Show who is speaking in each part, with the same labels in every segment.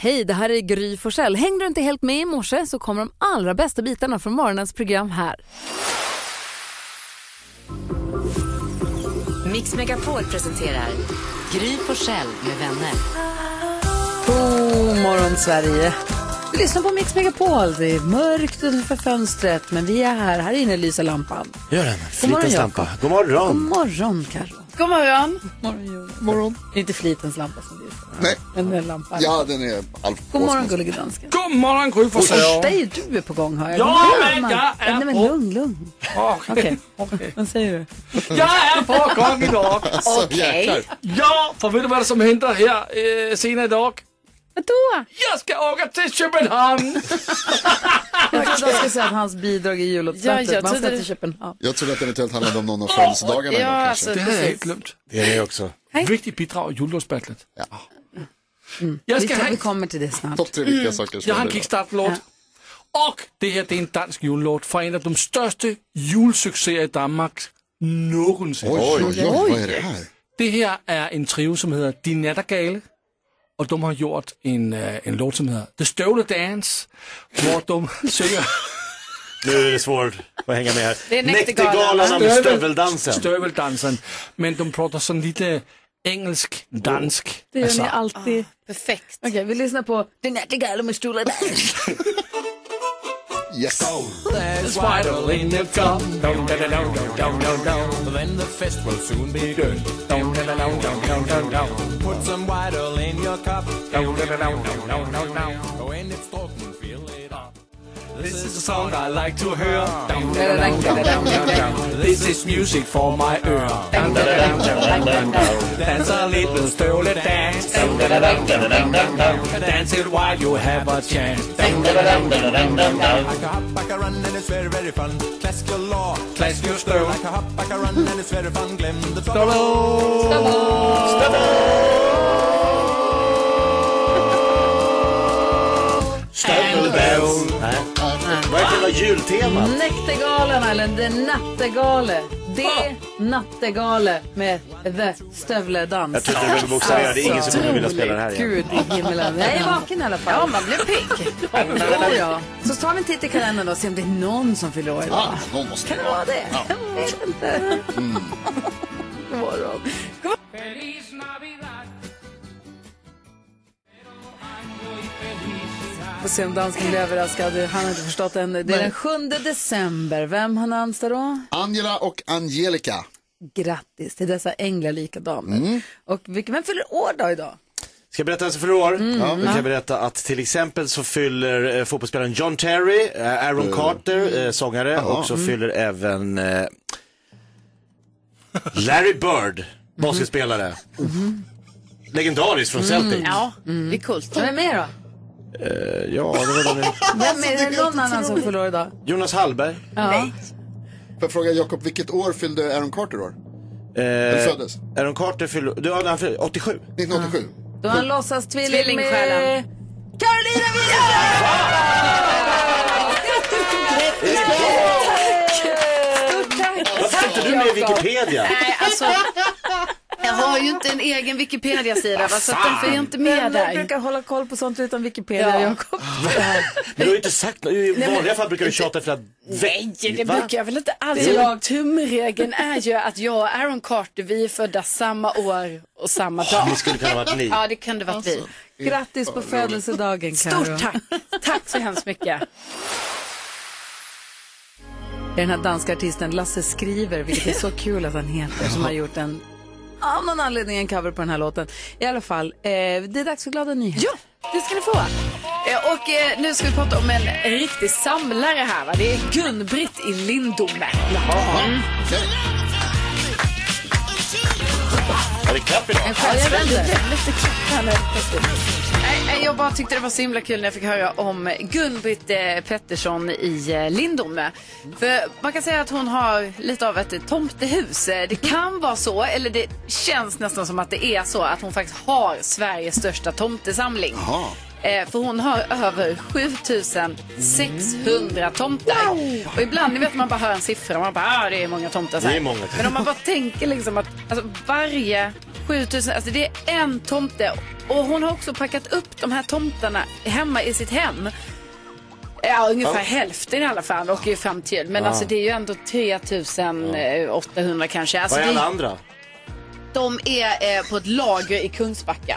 Speaker 1: Hej, det här är Gry Forssell. Hängde du inte helt med i morse så kommer de allra bästa bitarna från morgonens program här.
Speaker 2: Mix Megapol presenterar Gry Forssell med vänner.
Speaker 3: God morgon, Sverige. Du lyssnar på Mix Megapol. Det är mörkt utanför fönstret, men vi är här. Här inne lyser lampan.
Speaker 4: Gör den.
Speaker 3: morgon,
Speaker 4: Flitens
Speaker 3: Jakob.
Speaker 4: lampa. God morgon.
Speaker 3: God morgon, Carro. God morgon. morgon, Jonas. Det är inte flitens lampa som lyser.
Speaker 5: Nej.
Speaker 3: Men den lampan.
Speaker 5: Ja, den är Alf
Speaker 3: God morgon, gullige dansken.
Speaker 6: God morgon Gry Forssell!
Speaker 3: Första är ju du är på gång, hör jag.
Speaker 6: Ja,
Speaker 3: God morgon.
Speaker 6: men jag är
Speaker 3: Nej, men
Speaker 6: på-
Speaker 3: lugn, lugn. Okej. Vad säger du?
Speaker 6: Jag är på gång idag!
Speaker 5: Okej.
Speaker 6: Ja, för vet du vad som händer här eh, senare idag?
Speaker 3: Vadå?
Speaker 6: Jag ska åka till Köpenhamn!
Speaker 3: Jag trodde jag skulle säga att hans bidrag är juluppsattet.
Speaker 7: Ja, jag
Speaker 3: Man ska
Speaker 7: trodde-
Speaker 3: till Köpenhamn.
Speaker 5: Jag trodde att det eventuellt handlade om någon av födelsedagarna.
Speaker 7: Ja,
Speaker 5: idag, kanske.
Speaker 7: alltså,
Speaker 6: Det hade jag helt glömt.
Speaker 4: Det är det också.
Speaker 6: Viktigt bidrag i jullåtsbattlet.
Speaker 5: Ja.
Speaker 6: Jag,
Speaker 3: Vi,
Speaker 6: ska
Speaker 3: tar,
Speaker 6: ha,
Speaker 3: vi kommer till det snart.
Speaker 5: Topp tre viktiga saker. som
Speaker 6: jag har en
Speaker 5: händer idag.
Speaker 6: kickstartlåt. Och det här det är en dansk jullåt från en av de största julsuccéer i Danmark någonsin.
Speaker 5: Oj, oj, oj, vad är det här?
Speaker 6: Det här är en trio som heter Din Nattergale. Och de har gjort en, eh, en låt som heter The Stole Dance. Där de sjunger
Speaker 4: Nu är det svårt att hänga med här.
Speaker 7: Det är Näktergalan.
Speaker 4: med stöveldansen.
Speaker 6: stöveldansen. Men de pratar sån
Speaker 8: øh,
Speaker 6: lite engelsk, dansk.
Speaker 3: Det gör ni alltid.
Speaker 7: perfekt.
Speaker 3: Okej, vi lyssnar på Din ärtigalle med stolar där.
Speaker 5: Yes.
Speaker 8: Then the fest will soon be good. Put some white oil in your cup. When it's talking, fill it up. This is a song I like to hear. This is music for my ear. Dance a little stole dance. Dance it while you have a chance. Like a hop, like a run, and it's very, very fun. Clask your law, clask your stir. Like a hop, like a run, and it's very fun. Glim the trouble.
Speaker 4: Stövelbells. Verkar vara jultema.
Speaker 3: Näktergalarna, eller The Nattegale. Det Nattegale med The Stövledans.
Speaker 4: Jag trodde du ville bokstavera. Det är ingen som kommer vilja spela det här igen.
Speaker 3: Gud i himlen. Jag är vaken i alla fall. Ja, man blir pigg. ja, ja. Så tar vi en titt i kalendern då och ser om det är någon som fyller år idag.
Speaker 5: Ah, någon måste
Speaker 3: Kan det vara det? Jag vet inte.
Speaker 4: Mm.
Speaker 3: God morgon. Får se om dansken blir överraskad. Han har inte förstått än. Det är den 7 december. Vem har namnsdag då?
Speaker 5: Angela och Angelica.
Speaker 3: Grattis till dessa änglalika damer. Och vilken, vem fyller år då idag?
Speaker 4: Ska jag berätta vem som fyller år? Ja. Då kan jag berätta att till exempel så fyller eh, fotbollsspelaren John Terry, eh, Aaron Carter, eh, sångare, och så fyller även eh, Larry Bird, basketspelare. Legendarisk från Celtic.
Speaker 7: Ja, det är coolt.
Speaker 3: Vem är med då?
Speaker 4: Eh, Ja, det var den.
Speaker 3: Vem är, är det någon annan som fyller år idag?
Speaker 4: Jonas Hallberg.
Speaker 3: Ja.
Speaker 5: Får jag fråga Jakob, vilket år fyllde Aaron Carter år?
Speaker 4: Eh,
Speaker 5: föddes?
Speaker 4: Aaron Carter fyller, du, han fyller 87.
Speaker 5: 1987.
Speaker 3: Då är han låtsas-tvilling med...
Speaker 7: Tvillingstjärnan.
Speaker 3: Carolina
Speaker 4: Varför sitter du med i Wikipedia?
Speaker 7: Nej, alltså, jag har ju inte en egen Wikipedia-sida, va, så att de får ju inte med
Speaker 3: Vilja! Jag
Speaker 7: där.
Speaker 3: brukar hålla koll på sånt utan Wikipedia,
Speaker 7: Ja.
Speaker 3: Jakob.
Speaker 4: Men du har ju inte sagt något. I vanliga fall brukar du tjata i flera veckor.
Speaker 7: Nej, det
Speaker 4: Va?
Speaker 7: brukar jag väl inte alls. Jag, tumregeln är ju att jag och Aaron Carter, vi är födda samma år och samma dag.
Speaker 4: Ni skulle kunna ha varit ni.
Speaker 7: Ja, det kunde varit vi.
Speaker 3: Grattis på födelsedagen, Karo.
Speaker 7: Stort tack. Tack så hemskt mycket.
Speaker 3: Det är den här danska artisten Lasse Skriver, vilket är så kul att han heter, som har gjort en, av någon anledning, en cover på den här låten. I alla fall, eh, det är dags för glada nyheter.
Speaker 7: Ja, det ska ni få. Eh, Och eh, nu ska vi prata om en riktig samlare här. Va? Det är Gun-Britt i Lindome.
Speaker 5: Okej.
Speaker 4: Är det klapp idag?
Speaker 3: En själsvändare.
Speaker 7: Nej, nej, Jag bara tyckte det var så himla kul när jag fick höra om Gun-Britt eh, Pettersson i eh, Lindome. För man kan säga att hon har lite av ett tomtehus. Eh, Det kan vara så, eller det känns nästan som att det är så, att hon faktiskt har Sveriges största tomtesamling. Eh, för hon har över 7600 tomtar. Och ibland, ni vet man bara hör en siffra och man bara, ah, det är många tomtar. Så här.
Speaker 4: Det är många tomtar.
Speaker 7: Men om man bara tänker liksom att alltså, varje 7000, alltså det är en tomte. Och hon har också packat upp de här tomtarna hemma i sitt hem. Ja, ungefär hälften i alla fall åker ju fram till jul. Men alltså det är ju ändå 3800 kanske. Alltså,
Speaker 4: Vad är alla
Speaker 7: det-
Speaker 4: andra?
Speaker 7: de är eh, på ett lager i Kungsbacka.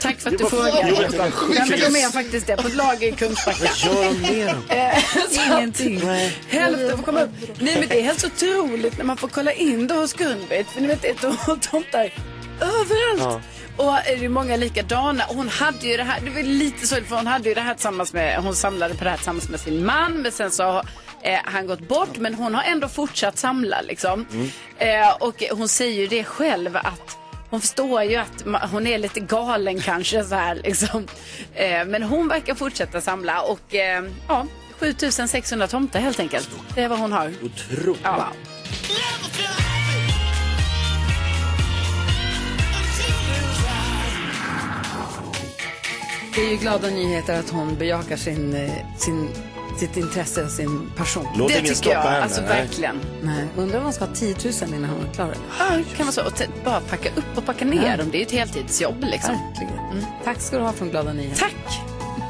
Speaker 7: Tack för att du
Speaker 4: Jo,
Speaker 7: frågar.
Speaker 4: men det var
Speaker 7: Nej, men de är
Speaker 4: sjukt.
Speaker 7: faktiskt det, på ett lager i Kungsbacka.
Speaker 4: Gör de mer?
Speaker 7: Ingenting. Eh, Hälften får komma upp. Nej, men det är helt otroligt när man får kolla in då hos Gunbritt. För ni vet, det är tom- tomtar överallt. Och är det är många likadana. Hon hade ju det här, det var lite sorgligt för hon hade ju det här tillsammans med, hon samlade på det här tillsammans med sin man. Men sen så har eh, han gått bort. Men hon har ändå fortsatt samla liksom. Eh, och hon säger ju det själv att hon förstår ju att ma- hon är lite galen kanske så här liksom. Eh, men hon verkar fortsätta samla och eh, ja, 7600 tomtar helt enkelt. Det är vad hon har.
Speaker 4: Otroligt.
Speaker 7: Ja.
Speaker 3: Det är ju glada nyheter att hon bejakar sin, eh, sin, sitt intresse och sin passion.
Speaker 4: Låt
Speaker 7: Det
Speaker 4: ingen
Speaker 7: tycker
Speaker 4: stoppa
Speaker 7: jag,
Speaker 4: henne.
Speaker 7: alltså
Speaker 4: nej.
Speaker 7: verkligen.
Speaker 3: Nej, undrar om hon ska ha 10 000 innan hon är klar.
Speaker 7: Ja, kan man så, och t- bara packa upp och packa ner
Speaker 3: Ja.
Speaker 7: dem. Det är ju ett heltidsjobb liksom.
Speaker 3: Verkligen. Tack ska du ha från Glada nyheter.
Speaker 7: Tack!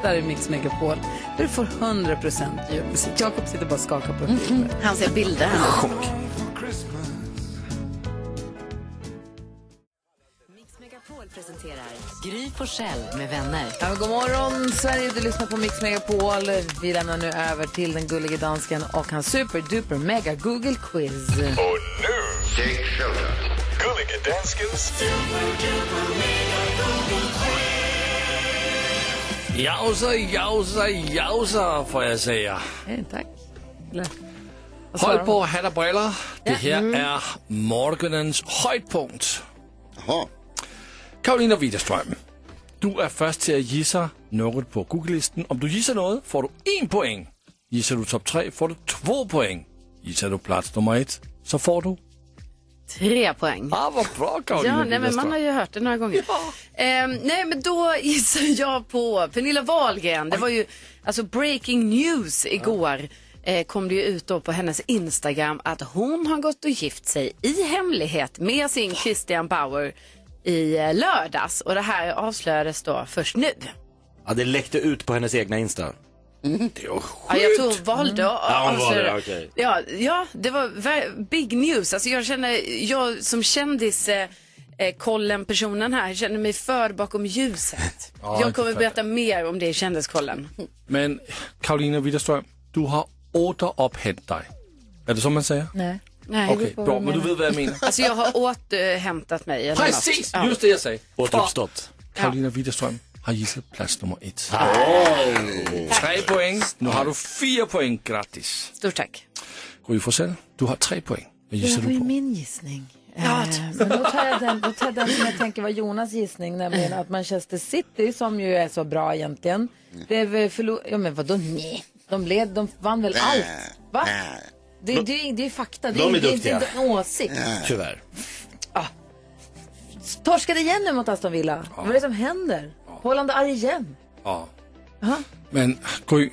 Speaker 3: Där är Mix Megapol. Där du får 100% julmusik. Jakob sitter bara och skakar på huvudet.
Speaker 7: Han ser bilder. här.
Speaker 2: Megapol presenterar Gry Forssell med vänner.
Speaker 3: Ja, men god morgon, Sverige. Du lyssnar på Mix Megapol. Vi lämnar nu över till den gullige dansken och hans superduper mega Google quiz.
Speaker 9: Och nu, Jake Shelton. Gullige Danskens...
Speaker 6: Jausa, jausa, jausa får jag säga.
Speaker 3: Eh, tack. Eller, vad svarar
Speaker 6: Håll
Speaker 3: de?
Speaker 6: på hat och briller. Det här är morgonens höjdpunkt.
Speaker 5: Jaha.
Speaker 6: Karolina Widerström, du är först till att gissa något på Google-listan. Om du gissar något får du en poäng. Gissar du topp tre får du två poäng. Gissar du plats nummer ett så får du...
Speaker 7: Tre poäng.
Speaker 6: Ah, vad bra Karolina
Speaker 7: Ja, nej, men man har ju hört det några gånger. Ehm, nej, men då gissar jag på Pernilla Wahlgren. Det var ju alltså breaking news igår. Eh, kom det ju ut då på hennes Instagram att hon har gått och gift sig i hemlighet med sin Christian Bauer i eh, lördags. Och det här avslöjades då först nu.
Speaker 4: Ja, det läckte ut på hennes egna Insta. Det är ju
Speaker 7: Mm. Ja, jag tror hon valde att
Speaker 4: Mm. Ja, hon
Speaker 7: avslöja
Speaker 4: valde det, okej.
Speaker 7: ja, ja, det var ver- big news. Alltså jag känner, jag som kändis eh, eh, kollen personen här känner mig för bakom ljuset. jag kommer berätta mer om det i kändiskollen.
Speaker 6: Men Karolina Widerström, du har återupphämtat dig. Är det så man säger?
Speaker 3: Nej.
Speaker 7: Nej.
Speaker 6: Okej, bra. Men du vet vad jag menar.
Speaker 7: Alltså jag har återhämtat mig. Eller något.
Speaker 6: Precis!
Speaker 7: Ja.
Speaker 6: Just det jag säger.
Speaker 4: Återuppstått.
Speaker 6: Karolina Widerström har gissat plats nummer ett. Tre poäng. Nu har du fyra poäng. Grattis.
Speaker 7: Stort tack.
Speaker 6: Gry Forssell, du har tre poäng. Vad gissar du på?
Speaker 3: min gissning. Ja, men då tar, jag den, då tar jag den som jag tänker var Jonas gissning, nämligen att Manchester City, som ju är så bra egentligen, blev förlorade. Ja, men vadå nej? De, led, de vann väl allt? Va? Det, det, är- det är fakta, det
Speaker 4: De är
Speaker 3: det
Speaker 4: duktiga.
Speaker 3: inte en åsikt.
Speaker 4: Tyvärr.
Speaker 3: Torskade igen nu mot Aston Villa. Vad är det som händer? Holland är arg igen.
Speaker 6: Ja. Men Gry,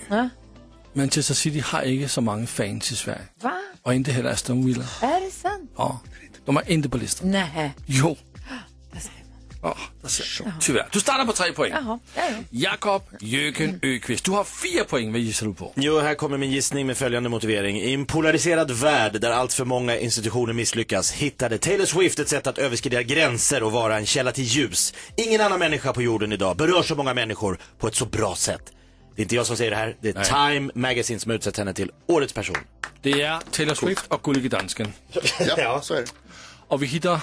Speaker 6: Manchester City har inte så många fans i Sverige.
Speaker 3: Va?
Speaker 6: Och inte heller Aston Villa.
Speaker 3: Är det sant?
Speaker 6: Ja. De är inte på listan.
Speaker 3: Nej.
Speaker 6: Jo. Ja, där ser du. Tyvärr. Du startar på tre poäng.
Speaker 3: Jaha, ja, ja.
Speaker 6: Jakob Jöken Öqvist, du har fyra poäng. Vad gissar du på?
Speaker 4: Jo, här kommer min gissning med följande motivering. I en polariserad värld där allt för många institutioner misslyckas hittade Taylor Swift ett sätt att överskrida gränser och vara en källa till ljus. Ingen annan människa på jorden idag berör så många människor på ett så bra sätt. Det är inte jag som säger det här, det är Time Magazine som har utsett henne till Årets person.
Speaker 6: Det är Taylor Swift och Gullige Dansken.
Speaker 5: Ja, så är det.
Speaker 6: Och vi hittar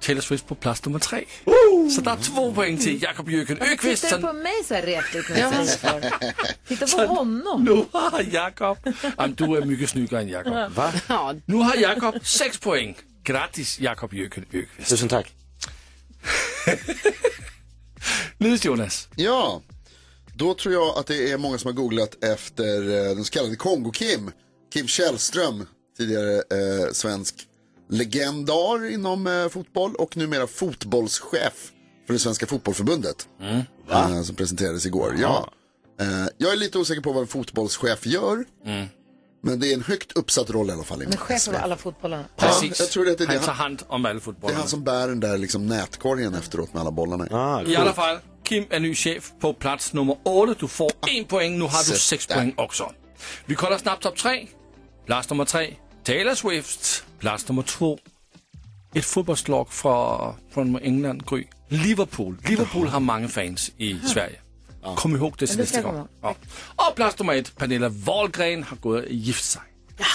Speaker 6: Taylor Swift på plats nummer tre.
Speaker 5: Uh!
Speaker 6: Så där är två poäng till Jakob Jöken Öqvist.
Speaker 3: Tittar du på
Speaker 6: Så
Speaker 3: mig så här retligt när jag säger det för? Titta på honom.
Speaker 6: nu har Jakob... Jamen, du är mycket snyggare än Jakob. Va?
Speaker 7: Ja,
Speaker 6: Nu har Jakob sex poäng. Grattis Jakob Jöken Öqvist.
Speaker 4: Tusen tack.
Speaker 6: Nydes Jonas.
Speaker 5: Ja, då tror jag att det är många som har googlat efter eh, den så kallade Kongo-Kim. Kim Källström, tidigare eh, svensk legendar inom eh, fotboll och numera fotbollschef från det svenska fotbollförbundet. Eh, som presenterades igår. Ja. Eh, jag är lite osäker på vad en fotbollschef gör. Men det är en högt uppsatt roll i alla fall. inom
Speaker 3: Men chef
Speaker 5: SVT.
Speaker 3: över alla fotbollarna.
Speaker 5: Ja,
Speaker 6: Precis.
Speaker 5: jag tror det är det.
Speaker 6: han tar
Speaker 5: han,
Speaker 6: hand om all
Speaker 5: det
Speaker 6: fotbollen.
Speaker 5: är han som bär den där liksom, nätkorgen efteråt med alla bollarna i.
Speaker 4: Ah,
Speaker 6: I alla fall, Kim är ny chef på plats nummer 8. Du får en poäng, nu har du
Speaker 5: Så
Speaker 6: sex
Speaker 5: där.
Speaker 6: poäng också. Vi kollar snabbt topp tre. Plats nummer tre, Taylor Swift. Plats nummer två, ett fotbollslag från, från England, Gry. Liverpool. Liverpool har många fans i Sverige. Kom ihåg det till
Speaker 3: det ska
Speaker 6: nästa
Speaker 3: jag
Speaker 6: gång. Ja. Och plats nummer ett, Pernilla Wahlgren har gått och gift sig.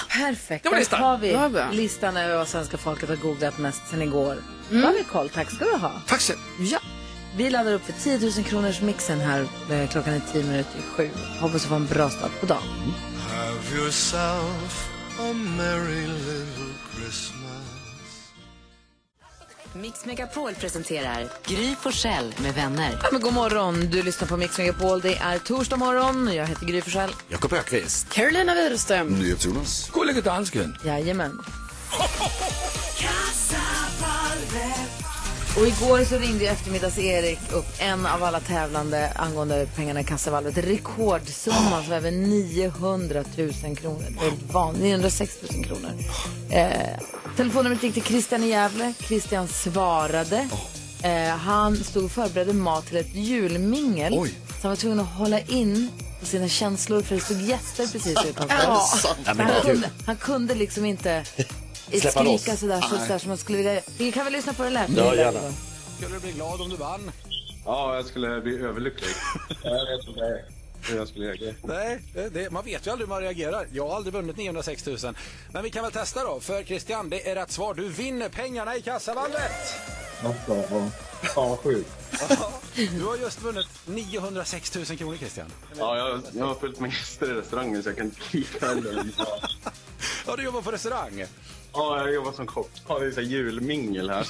Speaker 3: Perfekt.
Speaker 6: Det var listan.
Speaker 3: Där har vi
Speaker 7: Ja, bra.
Speaker 3: listan över vad svenska folket har googlat mest sen igår. Då har vi koll. Tack ska du ha.
Speaker 6: Tack så
Speaker 3: Ja. Vi laddar upp för 10 000 kronors mixen här. eh, Klockan är 10 minuter i sju. Hoppas du får en bra start på dagen.
Speaker 2: Mix Megapol presenterar Gry Forssell med vänner.
Speaker 3: Ja, men god morgon. Du lyssnar på Mix Megapol. Det är torsdag morgon. Jag heter Gry Forssell.
Speaker 4: Jakob Ökvist.
Speaker 7: Carolina Widerström.
Speaker 5: NyhetsJonas.
Speaker 6: Gullige dansken.
Speaker 3: Jajamän. Och igår så ringde ju eftermiddags-Erik upp en av alla tävlande angående pengarna i kassavalvet. Rekordsumman som var över 900 000 kronor. Det är van, 906 000 kronor. Eh, telefonnumret gick till Christian i Gävle. Christian svarade. Eh, han stod och förberedde mat till ett julmingel.
Speaker 5: Oj.
Speaker 3: Så han var tvungen att hålla in på sina känslor för det stod gäster precis utanför.
Speaker 5: Är det sant?
Speaker 3: Han kunde, han kunde liksom inte skrika
Speaker 4: loss.
Speaker 3: sådär, så, sådär som man skulle vilja. Vi kan väl lyssna på det lät?
Speaker 4: Ja,
Speaker 3: Det lät
Speaker 4: gärna.
Speaker 3: bra.
Speaker 8: Skulle du bli glad om du vann?
Speaker 10: Ja, jag skulle bli överlycklig. jag vet inte hur jag skulle reagera.
Speaker 8: Nej, det- det, man vet ju aldrig hur man reagerar. Jag har aldrig vunnit 906 000. Men vi kan väl testa då. För Christian, det är rätt svar. Du vinner pengarna i kassavalvet!
Speaker 10: Alltså, vad- fan vad sjukt.
Speaker 8: Du har just vunnit 906 000 kronor Christian.
Speaker 10: Ja, jag, jag har fullt med gäster i restaurangen så jag kan inte lika heller.
Speaker 8: Ja, du jobbar på restaurang.
Speaker 10: Ja, jag jobbar som kock. Ja, det är så här julmingel här.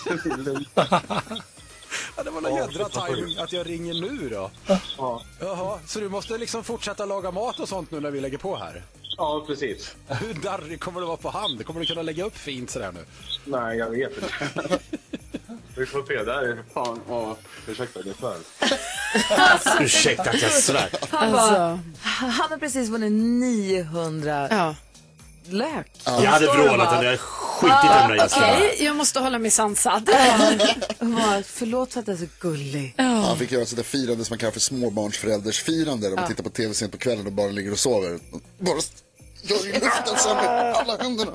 Speaker 8: Ja, det var någon jädra timing att jag ringer nu då.
Speaker 10: ja,
Speaker 8: Jaha, så du måste liksom fortsätta laga mat och sånt nu när vi lägger på här?
Speaker 10: ja, precis.
Speaker 8: Hur darrig kommer du vara på hand? Kommer du kunna lägga upp fint sådär nu?
Speaker 10: Nej, jag vet inte. Vi får se. Det här är fan... Ja, ursäkta, det är för.
Speaker 4: Ursäkta att jag sådär.
Speaker 3: Han, bara,
Speaker 7: Alltså,
Speaker 3: han har precis vunnit 900
Speaker 7: ja.
Speaker 3: lök.
Speaker 4: Jag hade vrålat att jag hade skitit i de där gästerna.
Speaker 7: Okej, jag måste hålla mig sansad.
Speaker 3: Han bara, förlåt för att jag är så gullig.
Speaker 5: Han fick göra sådär firande som man kallar för småbarnsförälders firande. Där man tittar på tv sent på kvällen och barnen ligger och sover. Bara st- gör i luften så här med alla händerna.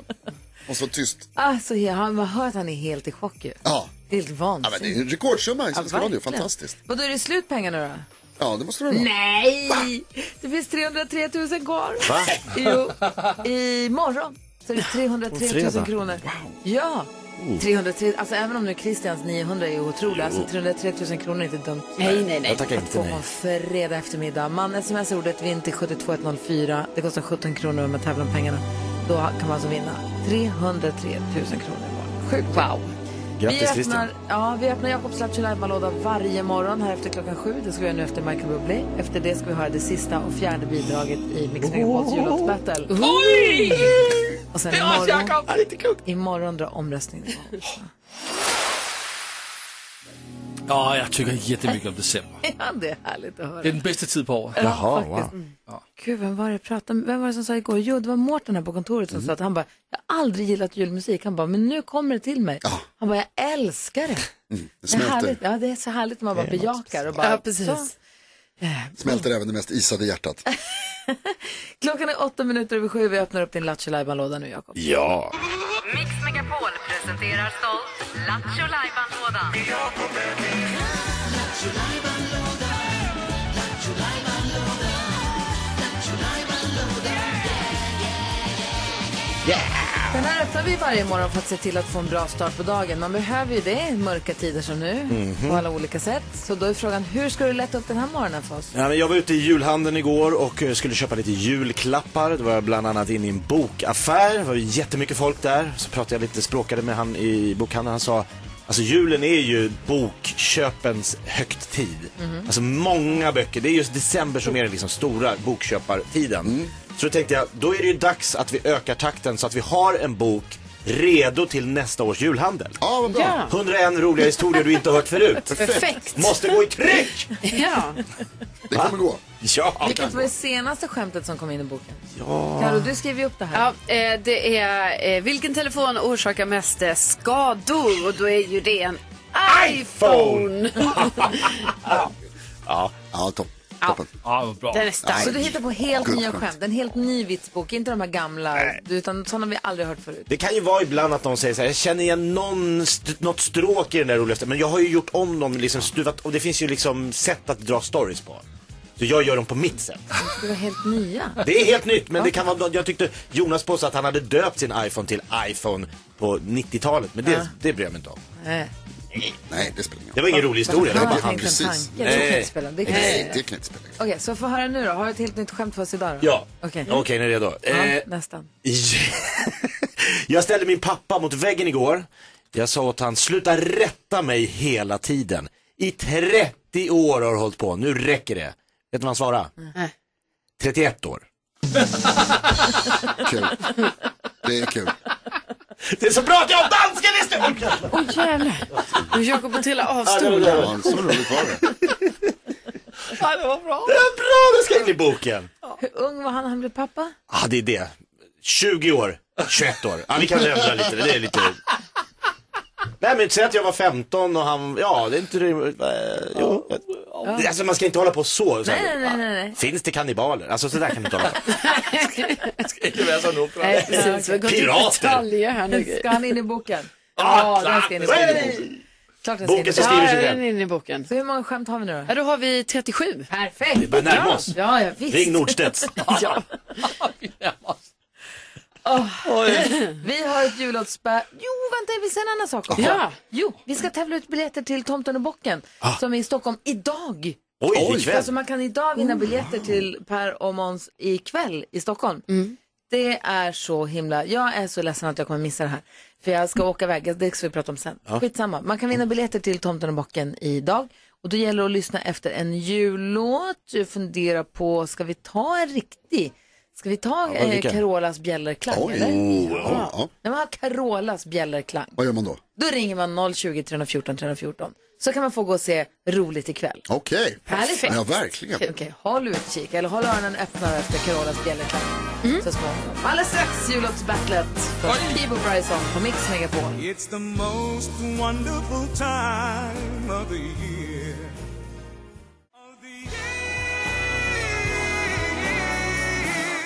Speaker 5: Och så tyst.
Speaker 3: Alltså, he- han, man hör att han är helt i chock ju.
Speaker 5: Ja.
Speaker 3: Det är helt
Speaker 5: ja men det
Speaker 3: vansinnigt.
Speaker 5: är en rekordsumma i svensk radio.
Speaker 3: verkligen.
Speaker 5: Fantastiskt.
Speaker 3: Vadå, är det slut pengarna då?
Speaker 5: Ja, det måste det vara.
Speaker 3: Nej! Det finns 303 000 kvar. Va? Jo, imorgon så är det 303 000
Speaker 4: fredag.
Speaker 3: kronor. Ja! 303, alltså även om nu Christians 900 är otroliga, alltså 303 000 kronor är inte dumt.
Speaker 7: Nej, nej, nej.
Speaker 4: Jag tackar inte
Speaker 3: På
Speaker 4: nej.
Speaker 3: en fredag eftermiddag. Man smsar ordet vinn till 72104. Det kostar 17 kronor om man tävlar om pengarna. Då kan man alltså vinna 303 000 kronor imorgon. Sjukt wow!
Speaker 4: Grattis,
Speaker 3: vi
Speaker 4: Christian.
Speaker 3: öppnar, ja, vi öppnar Jakobs Lattjo-låda varje morgon här efter klockan sju. Det ska vi göra nu efter Michael Bublé. Efter det ska vi höra det sista och fjärde bidraget i Mix Megapols jullåtsbattle.
Speaker 7: Oj!
Speaker 3: Och sen imorgon, imorgon drar omröstningen igång.
Speaker 6: Ja, jag tycker jättemycket om december.
Speaker 3: Ja, det är härligt att höra.
Speaker 6: Det är den bästa tid på året.
Speaker 4: Jaha, wow.
Speaker 3: Gud, vem var det jag pratade med? Vem var det som sa igår? Jo, det var Mårten här på kontoret som sa att han bara, jag har aldrig gillat julmusik. Han bara, men nu kommer det till mig. Han bara, jag älskar
Speaker 5: Det
Speaker 3: det. Det är, härligt.
Speaker 5: smälter,
Speaker 3: Ja, det är så härligt när man bara bejakar och bara,
Speaker 7: Ja, precis.
Speaker 3: så.
Speaker 5: smälter även det mest isade hjärtat.
Speaker 3: Klockan är åtta minuter över sju. Vi öppnar upp din Lattjo Lajban-låda nu, Jakob.
Speaker 4: Ja.
Speaker 2: Mix Megapol presenterar stolt Lattjo Lajban-lådan.
Speaker 3: Den här öppnar vi varje morgon för att se till att få en bra start på dagen. Man behöver ju det i mörka tider som nu, på alla olika sätt. Så då är frågan, hur ska du lätta upp den här morgonen för oss?
Speaker 4: Ja, men jag var ute i julhandeln igår och eh, skulle köpa lite julklappar. Då var jag bland annat inne i en bokaffär. Det var ju jättemycket folk där. Så pratade jag lite, språkade med han i bokhandeln. Han sa, alltså julen är ju bokköpens högtid. Alltså många böcker. Det är just december som är den liksom stora bokköpartiden. Så då tänkte jag, då är det ju dags att vi ökar takten så att vi har en bok redo till nästa års julhandel.
Speaker 5: Ja, vad
Speaker 7: bra. Ja.
Speaker 4: 101 roliga historier du inte har hört förut.
Speaker 3: Perfekt.
Speaker 4: Måste gå i tryck!
Speaker 7: Ja.
Speaker 5: Det kommer gå.
Speaker 4: Ja.
Speaker 3: Vilket var det senaste skämtet som kom in i boken?
Speaker 4: Ja.
Speaker 3: Carro, du skrev ju upp det här.
Speaker 7: Ja, eh, det är eh, vilken telefon orsakar mest eh, skador? Och då är ju det en iPhone.
Speaker 4: Ja.
Speaker 5: Ja, topp. toppen.
Speaker 6: Ja, vad bra.
Speaker 7: Den är stark.
Speaker 3: Så du hittar på helt
Speaker 5: Gud,
Speaker 3: nya
Speaker 5: skönt.
Speaker 3: skämt, en helt ny vitsbok, inte de här gamla, utan sådana vi aldrig hört förut.
Speaker 4: Det kan ju vara ibland att någon säger så här, jag känner igen någon st- något stråk i den där roliga st- men jag har ju gjort om dem, liksom stuvat, och det finns ju liksom sätt att dra stories på. Så jag gör dem på mitt sätt.
Speaker 3: Det var helt nya.
Speaker 4: Det är helt nytt, men det kan vara, jag tyckte Jonas påstod att han hade döpt sin iPhone till iPhone på 90-talet, men det, det bryr jag mig inte om.
Speaker 3: Nej.
Speaker 5: Nej, det spelar ingen
Speaker 4: Det
Speaker 5: roll.
Speaker 4: var ingen rolig historia. Det
Speaker 3: Jag
Speaker 4: var bara
Speaker 3: har tänkt
Speaker 4: han.
Speaker 3: en
Speaker 5: precis.
Speaker 3: tanke. Det är knäppspelande. Det är knäppspelande.
Speaker 5: Nej, det kan inte spela ingen roll.
Speaker 3: Okej, så få höra nu då. Har du ett helt nytt skämt för oss idag då?
Speaker 4: Ja,
Speaker 3: Okej.
Speaker 4: okej, ni är redo.
Speaker 3: Ja,
Speaker 4: Eh,
Speaker 3: nästan.
Speaker 4: jag ställde min pappa mot väggen igår. Jag sa åt han, sluta rätta mig hela tiden. I 30 år har du hållit på, nu räcker det. Vet du vad han svarade? 31 år.
Speaker 5: Kul. Det är kul.
Speaker 4: Det är så bra att jag har danska listor!
Speaker 7: Åh jävlar. Och Jakob och trilla av stolen.
Speaker 5: Ja, så roligt var det.
Speaker 7: Ja, det var bra.
Speaker 4: Det är bra, det ska in i boken.
Speaker 3: Hur ung var han när han blev pappa?
Speaker 4: Ah, det är det. 20 år, 21 år. Ah, vi kan ändra lite, det är lite... Nej men säg att jag var 15 och han, ja det är inte rimligt. Eh, jo. Alltså man ska inte hålla på så. så här.
Speaker 3: Nej, nej, nej, nej.
Speaker 4: Finns det kannibaler? Alltså sådär kan du inte hålla på.
Speaker 3: Nej, precis. Vi går till-
Speaker 4: Pirater!
Speaker 7: Detaljer Mm, här nu.
Speaker 3: Ska han in i boken?
Speaker 4: Ah,
Speaker 3: Ja, den ska in i
Speaker 4: klart.
Speaker 3: boken. Klart den ska in i
Speaker 4: Boken som
Speaker 3: boken.
Speaker 4: skriver sig
Speaker 7: Ja, den
Speaker 4: själv.
Speaker 7: är inne i boken.
Speaker 3: Så hur många skämt har vi nu då?
Speaker 7: Ja, då har vi 37.
Speaker 3: Perfekt! Vi
Speaker 4: börjar närma oss.
Speaker 3: Ja, ja, visst.
Speaker 4: Ring Nordstedts.
Speaker 7: Ja.
Speaker 3: Vi har ett jullåtsspö... Jo, vänta, jag vill säga en annan sak också.
Speaker 7: Ja.
Speaker 3: Jo, vi ska tävla ut biljetter till Tomten och bocken som är i Stockholm idag.
Speaker 4: Ah. Oj,
Speaker 3: Alltså
Speaker 4: ikväll.
Speaker 3: man kan idag vinna biljetter till Per och Måns ikväll i Stockholm. Det är så himla, jag är så ledsen att jag kommer missa det här. För jag ska åka iväg, det ska vi prata om sen. Skitsamma, man kan vinna biljetter till Tomten och bocken idag. Och då gäller det att lyssna efter en jullåt, fundera på, ska vi ta en riktig? Ska vi ta
Speaker 4: Ja,
Speaker 3: eh,
Speaker 4: vilken?
Speaker 3: Carolas bjällerklang
Speaker 5: Oj.
Speaker 3: eller?
Speaker 5: Oh,
Speaker 3: Ja.
Speaker 5: ja, ja.
Speaker 3: När man har Carolas bjällerklang,
Speaker 5: Vad gör man då?
Speaker 3: då ringer man 020 314 314. Så kan man få gå och se roligt ikväll.
Speaker 5: Okej.
Speaker 3: Härligt.
Speaker 5: Ja, verkligen.
Speaker 3: Okej, håll utkik eller håll öronen öppna efter Carolas bjällerklang. Så småningom. Alldeles strax jullåtsbattlet från Peebo Bryson på Mix Megapol.
Speaker 8: It's the most wonderful time of the year. Of the year.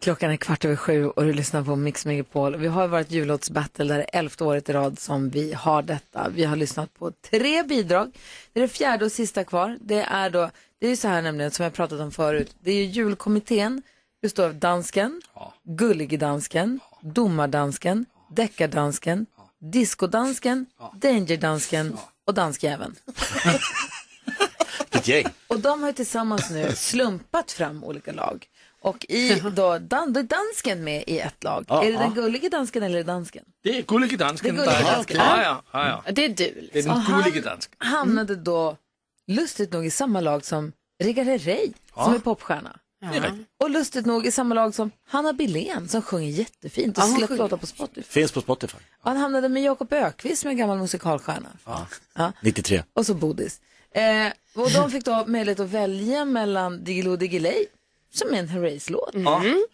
Speaker 3: Klockan är kvart över sju och du lyssnar på Mix Megapol. Vi har varit jullåtsbattle där det är elfte året i rad som vi har detta. Vi har lyssnat på tre bidrag. Det är det fjärde och sista kvar. Det är då, det är ju så här nämligen som jag pratat om förut. Det är ju julkommittén, består av dansken, gullig dansken, domardansken, deckardansken, diskodansken, dangerdansken och danskjäveln.
Speaker 4: Vilket gäng.
Speaker 3: Och de har ju tillsammans nu slumpat fram olika lag. Och i då, dan, då är dansken med i ett lag. är det den gullige dansken eller är det dansken?
Speaker 6: Det är gullige dansken.
Speaker 3: Det er gullige dansken.
Speaker 6: Ja, ja, ja, ja.
Speaker 7: Det är du.
Speaker 6: Det är
Speaker 3: Och
Speaker 6: den gullige dansken.
Speaker 3: Han hamnade då lustigt nog i samma lag som Rigare Rey som är popstjärna.
Speaker 6: Det är rigtigt.
Speaker 3: Och lustigt nog i samma lag som Hanna Billén som sjunger jättefint och släppt låtar på Spotify.
Speaker 4: Finns på Spotify.
Speaker 3: Och han hamnade med Jakob Ökvist som är en gammal musikalstjärna.
Speaker 4: 93.
Speaker 3: Och så Bodis. Eh, och de fick då möjlighet att välja mellan Diggiloo Diggiley, som är en Herreys-låt,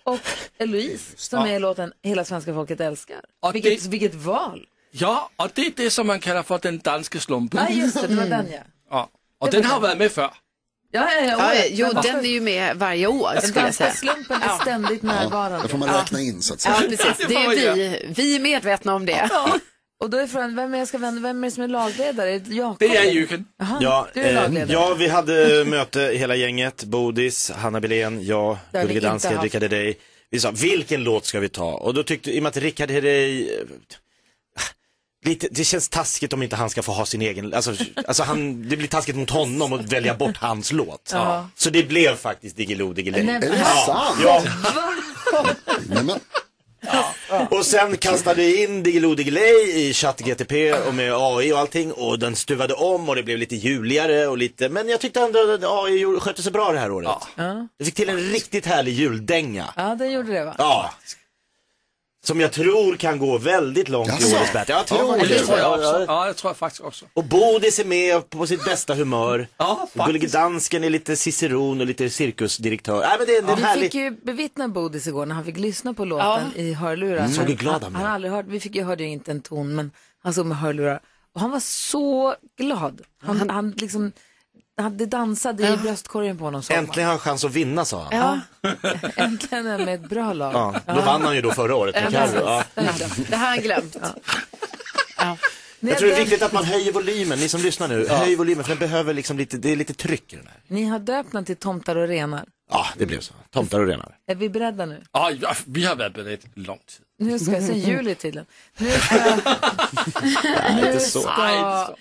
Speaker 3: och Eloise, som är låten Hela svenska folket älskar.
Speaker 6: Och
Speaker 3: vilket,
Speaker 6: det-
Speaker 3: vilket val!
Speaker 6: Ja, och det är det som man kallar för den danske slumpen.
Speaker 3: Ja, just det, det var den ja.
Speaker 6: Ja. Och den har varit med förr.
Speaker 3: Ja, ja, ja,
Speaker 7: Ja,
Speaker 3: ja.
Speaker 7: jo,
Speaker 3: Men-
Speaker 7: den är ju med varje
Speaker 3: Alltså,
Speaker 7: år skulle jag
Speaker 3: Danska
Speaker 7: säga.
Speaker 3: slumpen är ständigt
Speaker 5: Ja, det
Speaker 3: närvarande.
Speaker 5: får man räkna in så att
Speaker 7: Ja,
Speaker 5: säga.
Speaker 7: precis. Det är vi, vi är medvetna om det.
Speaker 3: Och då är frågan, vem är, jag ska vända, vem är det som är lagledare? Är det Jakob?
Speaker 6: Det är Jürgen.
Speaker 3: Jaha,
Speaker 4: Ja,
Speaker 3: du är
Speaker 4: eh,
Speaker 3: lagledare.
Speaker 4: ja, vi hade möte hela gänget. Bodis, Hanna Billén, jag,
Speaker 3: vi
Speaker 4: Gullige
Speaker 3: inte
Speaker 4: Dansken,
Speaker 3: haft.
Speaker 4: Rickard Herrey. Vi sa, vilken låt ska vi ta? Och då tyckte, i och med att Rickard Herrey, eh, lite, det känns taskigt om inte han ska få ha sin egen, alltså, alltså han, det blir taskigt mot honom att välja bort hans låt. Så det blev faktiskt Diggiloo Diggiley.
Speaker 3: Nej, men-
Speaker 5: Är det sant?
Speaker 4: Ja,
Speaker 5: Nej, men,
Speaker 4: och sen kastade vi in Diggiloo Diggiley i ChatGTP och med AI och allting och den stuvade om och det blev lite juligare och lite, men jag tyckte ändå att AI gjorde- skötte sig bra det här året. Vi fick till en riktigt härlig juldänga.
Speaker 3: Ja, den gjorde det va?
Speaker 4: Ja, Som jag tror kan gå väldigt långt i
Speaker 6: Jaså?
Speaker 4: årets battle. Jag
Speaker 6: Ja,
Speaker 4: tror
Speaker 6: det
Speaker 4: det.
Speaker 6: tror jag också.
Speaker 4: Ja,
Speaker 6: jag tror faktiskt också.
Speaker 4: Och Bodis är med på sitt bästa humör. Ja,
Speaker 6: faktiskt.
Speaker 4: Gullige dansken är lite ciceron och lite cirkusdirektör. Nej, men det, det är
Speaker 3: vi
Speaker 4: härligt.
Speaker 3: fick ju bevittna Bodis igår när han fick lyssna på låten i hörlurar.
Speaker 4: Mm. Såg hur
Speaker 3: Han-
Speaker 4: glad han
Speaker 3: han
Speaker 4: blev.
Speaker 3: han har aldrig hört, vi fick ju, hörde ju inte en ton, men han såg med hörlurar. Och han var så glad. Han, han, liksom, han, det dansade i bröstkorgen på honom. såg man.
Speaker 4: Äntligen har han chans att vinna, sa han.
Speaker 3: Ja. Äntligen är han med ett bra lag.
Speaker 4: Ja, då vann han ju då förra året med Carro. Ja.
Speaker 7: Det här har han glömt.
Speaker 4: Jag tror det är viktigt att man höjer volymen, ni som lyssnar nu. Höj volymen, för den behöver liksom lite, det är lite tryck i den här.
Speaker 3: Ni har döpt den till Tomtar och renar.
Speaker 4: Ja, det blev så. Tomtar och renar.
Speaker 3: Är vi beredda nu?
Speaker 6: Ja, ja, vi har varit beredda lång tid.
Speaker 3: Nu ska jag, sen juli tydligen.
Speaker 6: Nej,
Speaker 3: Nu
Speaker 6: inte så. Nej, inte
Speaker 3: ska
Speaker 6: så.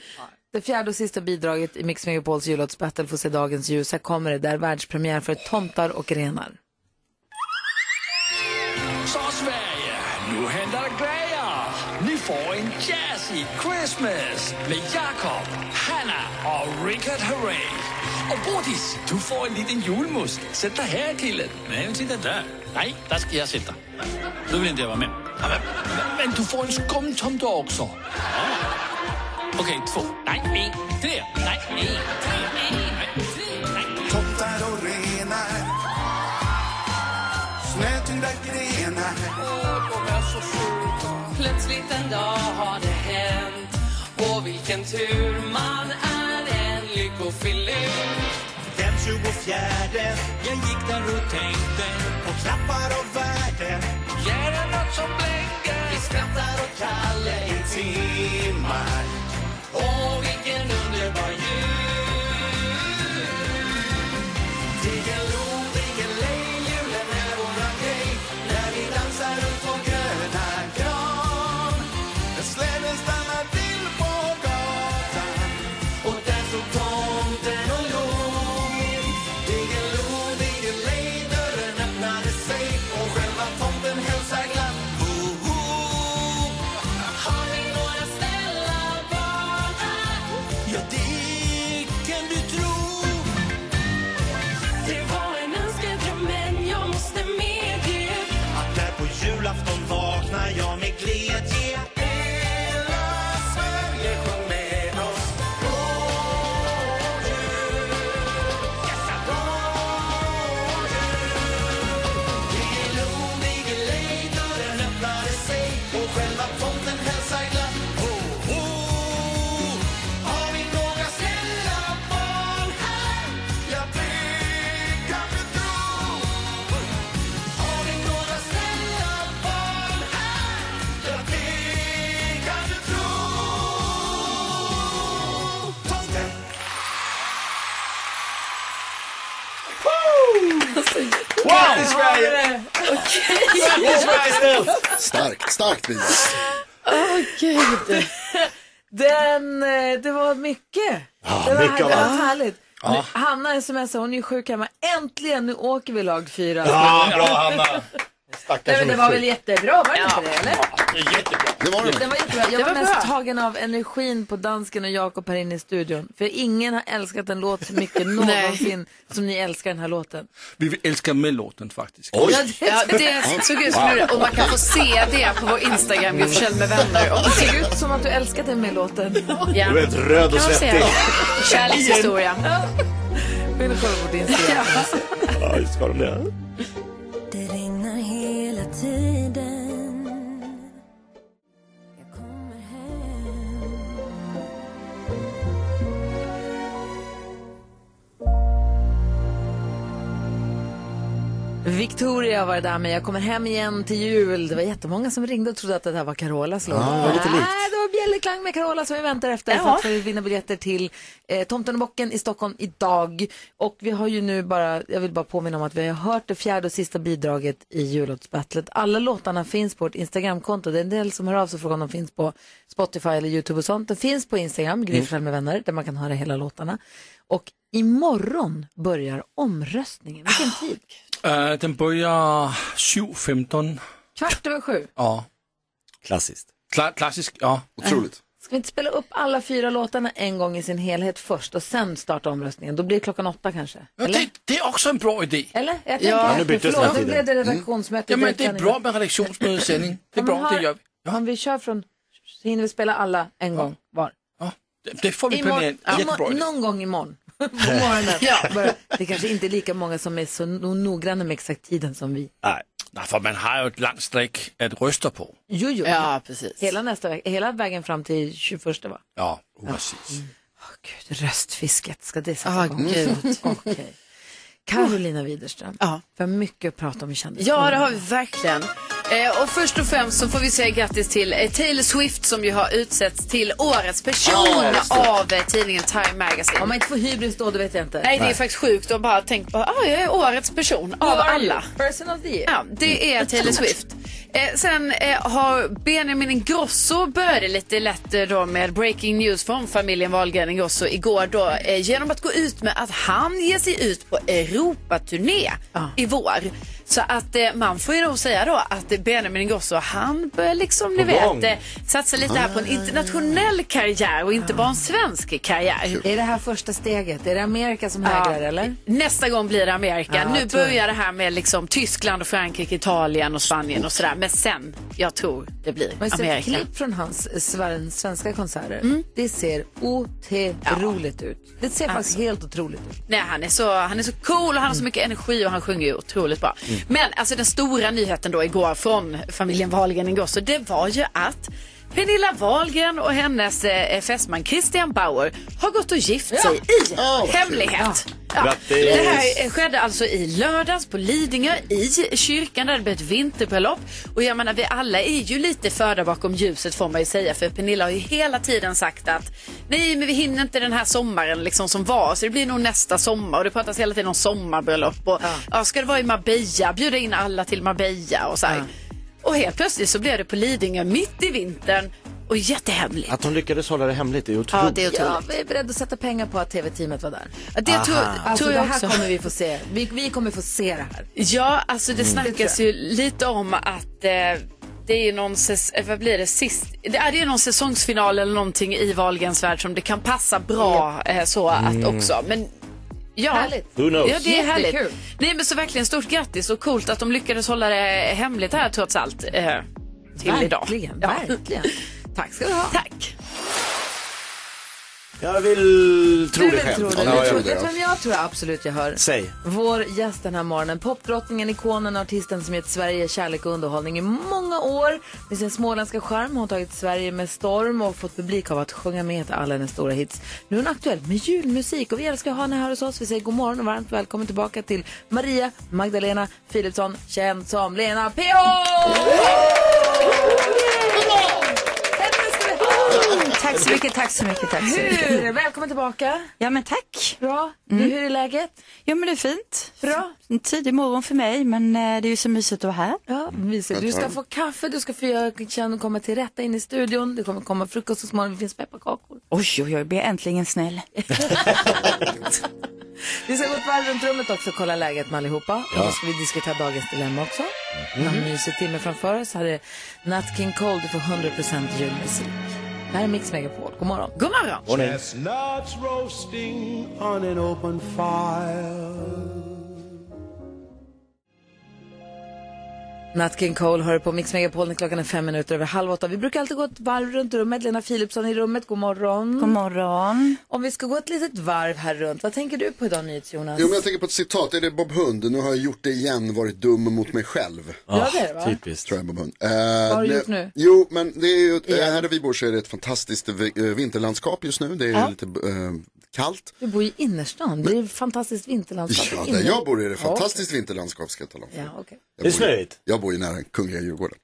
Speaker 3: det fjärde och sista bidraget i Mix Megapols jullåtsbattle få se dagens ljus. Här kommer det, där världspremiär för Tomtar och renar.
Speaker 8: Så Sverige, nu händer det grejer! Ni får en jazzy Christmas med Jakob, Hanna och Richard Herrey. Och Bodis, du får en liten julmust. Sätt dig här killen. Nej, sitta där. Nej, där ska jag sitta. Nu vill inte jag vara med. Ja, Men, men du får en skumtomte också. Ja. Okej, två. Nej, en. Tre. Nej, en. Tre. Nej, tre. Nej.
Speaker 11: Tomtar och renar Snötyngda grenar
Speaker 12: Plötsligt en dag har det hänt Och vilken tur man är en lyckofilur
Speaker 8: Den 24 Jag gick där och tänkte På knappar och värden Är det något som blänger? Vi skrattar och kallar i timmar
Speaker 12: Åh, vilken underbar jul
Speaker 8: Diggiloo, diggiley Julen är våran grej När vi dansar runt vår gröna gran När släden stannar till på gatan Och där stod tomten och log Diggiloo, diggiley Dörren öppnade sig Och själva tomten hälsar glatt Ho, ho. Har ni några snälla barn här? Ja, det kan du tro
Speaker 12: Det var en önskedröm men jag måste medge
Speaker 8: Att där på julafton vaknar jag med glädje Hela Sverige sjung med oss God jul Yes, ja, god jul Diggiloo, diggiley Dörren öppnade sig och själva tomten hälsar glatt Ho, ho Har vi några snälla barn här? Ja, det kan vi tro har ni några snälla barn här? Ja, det kan du tro. Tomten.
Speaker 4: Wow!
Speaker 8: Där har vi det.
Speaker 4: Grattis, Sverige!
Speaker 5: Starkt, starkt bidrag.
Speaker 3: Åh gud. Den, eh, det var mycket.
Speaker 5: Ja,
Speaker 3: det var,
Speaker 5: mycket av
Speaker 3: det var
Speaker 5: allt.
Speaker 3: härligt.
Speaker 5: Ja.
Speaker 3: Nu, Hanna smsar, hon är ju sjuk hemma. Äntligen, nu åker vi lag fyra.
Speaker 4: Ja, bra, Hanna.
Speaker 3: Nej, men det var väl jättebra, var det
Speaker 8: Ja.
Speaker 3: inte det? Eller?
Speaker 5: Det var
Speaker 3: Den var jättebra. Jag
Speaker 8: Det
Speaker 3: var,
Speaker 8: var
Speaker 3: mest
Speaker 8: bra.
Speaker 3: tagen av energin på dansken och Jakob här inne i studion. För ingen har älskat en låt så mycket
Speaker 7: Nej.
Speaker 3: någonsin som ni älskar den här låten.
Speaker 6: Vi älskar med låten faktiskt.
Speaker 7: Ja, det såg ut som det. Och man kan få se det på vår Instagram, Gud Forssell med vänner. Och
Speaker 3: Det ser ut som att du älskat den med låten.
Speaker 7: Ja.
Speaker 4: Du är helt röd och
Speaker 7: Kan man säga.
Speaker 4: svettig.
Speaker 7: Kärlekshistoria.
Speaker 3: Vill du kolla på din Instagram?
Speaker 4: Ja, just ska de det.
Speaker 13: Det regnar hela tiden
Speaker 3: Victoria var det där med Jag kommer hem igen till jul. Det var jättemånga som ringde och trodde att det där var Carolas låt. Ah.
Speaker 1: Ja, det var lite likt.
Speaker 3: Nej, Äh, det var Bjällerklang med Carola som vi väntar efter för att få vinna biljetter till eh, Tomten och bocken i Stockholm idag. Och vi har ju nu bara, jag vill bara påminna om att vi har hört det fjärde och sista bidraget i jullåtsbattlet. Alla låtarna finns på vårt Instagramkonto. Det är en del som hör av sig och frågar om de finns på Spotify eller YouTube och sånt. De finns på Instagram, Gry Forssell med vänner, där man kan höra hela låtarna. Och imorgon börjar omröstningen. Vilken tid?
Speaker 6: Eh, den börjar 7.15.
Speaker 3: Kvart över sju.
Speaker 6: Ja.
Speaker 4: Klassiskt.
Speaker 6: Kla klassisk, ja.
Speaker 5: Otroligt.
Speaker 3: Ska vi inte spela upp alla fyra låtarna en gång i sin helhet först och sen starta omröstningen? Då blir det klockan åtta kanske. Eller?
Speaker 6: Det är också en bra idé.
Speaker 3: Eller? Jag
Speaker 6: Ja.
Speaker 3: tänker
Speaker 6: Ja, nu
Speaker 3: efter.
Speaker 6: byttes den
Speaker 3: Förlåt, nu
Speaker 6: tiden. Mm.
Speaker 3: blev det redaktionsmöte.
Speaker 6: Ja, men
Speaker 3: direkt
Speaker 6: det är
Speaker 3: sändning.
Speaker 6: bra med redaktionsmötessändning. Det är
Speaker 3: Ja, men
Speaker 6: bra, det
Speaker 3: har-
Speaker 6: gör vi.
Speaker 3: Om vi kör från, så hinner vi spela alla en gång var.
Speaker 6: Det- Det får vi
Speaker 3: Imorgon-
Speaker 6: planera.
Speaker 3: ja,
Speaker 6: Jättebra idé.
Speaker 3: någon gång imorgon. På morgonen. Bara- Det kanske inte är lika många som är så no- noggranna med exakt tiden som vi.
Speaker 6: Nej. Nej, för man har ju ett långt streck att rösta på.
Speaker 3: Jo, jo.
Speaker 7: Ja, precis.
Speaker 3: Hela, nästa vecka, hela vägen fram till 21 va?
Speaker 6: Ja, precis.
Speaker 3: Röstfisket, ska det sätta
Speaker 7: Ah,
Speaker 3: igång?
Speaker 7: gud.
Speaker 3: Okej. Carolina Widerström, vi har mycket att prata om i kändiskollen.
Speaker 7: Ja, det har vi verkligen. Eh, och först och främst så får vi säga grattis till eh, Taylor Swift som ju har utsetts till årets person
Speaker 3: Ja, just det.
Speaker 7: av eh, tidningen Time Magazine.
Speaker 3: Om man inte får hybris då, då vet jag inte.
Speaker 7: Nej, det är faktiskt sjukt att bara tänka på, ah, jag är årets person av
Speaker 3: are
Speaker 7: alla.
Speaker 3: you? Person of the year.
Speaker 7: Ja, det är
Speaker 3: Mm.
Speaker 7: Taylor Swift. Eh, sen eh, har Benjamin Ingrosso började lite lätt eh, då med breaking news från familjen Wahlgren Ingrosso igår då eh, genom att gå ut med att han ger sig ut på Europaturné i vår. Så att eh, man får ju nog säga då att eh, Benjamin Ingrosso han börjar liksom, ni
Speaker 3: På gång.
Speaker 7: vet, eh, satsa lite här på en internationell karriär och inte bara en svensk karriär.
Speaker 3: Är det här första steget? Är det Amerika som
Speaker 7: Ja.
Speaker 3: hägrar eller?
Speaker 7: Nästa gång blir det Amerika.
Speaker 3: Ja,
Speaker 7: nu
Speaker 3: jag tror
Speaker 7: börjar det här med liksom Tyskland och Frankrike, Italien och Spanien och sådär. Men sen, jag tror det blir
Speaker 3: Man har sett
Speaker 7: Amerika. Mm.
Speaker 3: klipp från hans eh, sven- svenska konserter. Det ser otroligt ut. Det ser
Speaker 7: Alltså.
Speaker 3: faktiskt helt otroligt ut.
Speaker 7: Nej, han är, så, han är så cool och han har så mycket energi och han sjunger ju otroligt bra.
Speaker 3: Mm.
Speaker 7: Men alltså den stora nyheten då igår från familjen Wahlgren igår, så det var ju att Pernilla Wahlgren och hennes eh, fästman Christian Bauer har gått och gift sig i hemlighet. Ja.
Speaker 8: Grattis.
Speaker 7: Det här eh, skedde alltså i lördags på Lidingö i kyrkan där det blev ett vinterbröllop. Och jag menar, vi alla är ju lite förda bakom ljuset får man ju säga. För Pernilla har ju hela tiden sagt att nej, men vi hinner inte den här sommaren liksom som var. Så det blir nog nästa sommar. Och det pratas hela tiden om sommarbröllop. Och, ja. ska det vara i Marbella? Bjuda in alla till Marbella och så här. Och helt plötsligt så blev det på Lidingö mitt i vintern och jättehemligt.
Speaker 4: Att hon lyckades hålla det hemligt är otroligt.
Speaker 7: Ja, det är otroligt.
Speaker 3: Ja, vi är beredda att sätta pengar på att tv-teamet var där.
Speaker 7: Ja, det tror- Aha.
Speaker 3: alltså,
Speaker 7: tror jag
Speaker 3: det här
Speaker 7: också.
Speaker 3: kommer vi få se. Vi, vi kommer få se det här.
Speaker 7: Ja, alltså det
Speaker 3: Mm.
Speaker 7: snackas ju lite om att eh, det är ju någon, säs- eh, vad blir det, sist, det är det ju någon säsongsfinal eller någonting i Wahlgrens värld som det kan passa bra eh, så att
Speaker 4: Mm.
Speaker 7: också. Men ja,
Speaker 4: Who knows?
Speaker 7: ja, det är härligt.
Speaker 4: Jättekul.
Speaker 7: Nej men så verkligen stort grattis och coolt att de lyckades hålla det hemligt här trots allt. Eh, till
Speaker 3: Verkligen,
Speaker 7: idag. Ja.
Speaker 3: verkligen. Tack ska du ha.
Speaker 7: Tack.
Speaker 4: Jag vill tro
Speaker 3: du
Speaker 4: det
Speaker 3: vill
Speaker 4: själv.
Speaker 3: tro det.
Speaker 4: Ja,
Speaker 3: du
Speaker 4: jag
Speaker 3: tror
Speaker 4: vill
Speaker 3: det. Vet du vem
Speaker 4: det.
Speaker 3: jag tror absolut jag hör?
Speaker 4: Säg.
Speaker 3: Vår gäst den här morgonen, popdrottningen, ikonen och artisten som gett Sverige kärlek och underhållning i många år. Med sin småländska charm har hon tagit Sverige med storm och fått publik av att sjunga med till alla hennes stora hits. Nu är hon aktuell med julmusik och vi älskar att ha henne här hos oss. Vi säger god morgon och varmt välkommen tillbaka till Maria Magdalena Philipsson, känd som Lena PH!
Speaker 14: Tack så mycket, tack så mycket, tack så mycket. Mm.
Speaker 3: Hur? Välkommen tillbaka.
Speaker 14: Ja men tack.
Speaker 3: Bra. Hur är läget?
Speaker 14: Ja men det är fint.
Speaker 3: Bra.
Speaker 14: En tidig morgon för mig men eh, det är ju så mysigt att vara här.
Speaker 3: Ja, mysigt. Du ska få kaffe, du ska få göra- känna- komma till rätta in i studion. Det kommer komma frukost så småningom, det finns pepparkakor.
Speaker 14: Oj, oj, oj, blir jag äntligen snäll.
Speaker 3: Vi ska gå ett varv runt rummet också och kolla läget med allihopa.
Speaker 14: Ja.
Speaker 3: Och då ska vi diskutera dagens dilemma också. Vi har en mysig timme framför oss. Här är Nat King Cole, du får 100% julmusik. Det här är Mix Megapol. God morgon.
Speaker 7: God morgon.
Speaker 15: Chestnuts roasting on an open fire.
Speaker 3: Nat King Cole hör på Mix Megapol när klockan är fem minuter över halv åtta. Vi brukar alltid gå ett varv runt rummet. Lena Philipsson i rummet, god morgon.
Speaker 14: God morgon.
Speaker 3: Om vi ska gå ett litet varv här runt, vad tänker du på idag NyhetsJonas?
Speaker 5: Jo, men jag tänker på ett citat. Är det Bob Hund? Nu har jag gjort det igen, varit dum mot mig själv.
Speaker 3: Ja, det är det, va?
Speaker 5: Typiskt. Tror jag Bob Hund. Eh,
Speaker 3: har du
Speaker 5: det-
Speaker 3: gjort nu?
Speaker 5: Jo, men det är ju, eh, här där vi bor så är det ett fantastiskt vi- eh, vinterlandskap just nu. Det är
Speaker 3: Ja.
Speaker 5: lite eh, kallt.
Speaker 3: Du bor i innerstan, det är ett fantastiskt vinterlandskap.
Speaker 5: Ja,
Speaker 3: inne.
Speaker 5: där jag bor är det
Speaker 3: Ja, okej.
Speaker 5: fantastiskt vinterlandskap ska jag tala om.
Speaker 3: Ja, okej.
Speaker 5: Jag bor ju- Jag bor ju nära Kungliga Djurgården.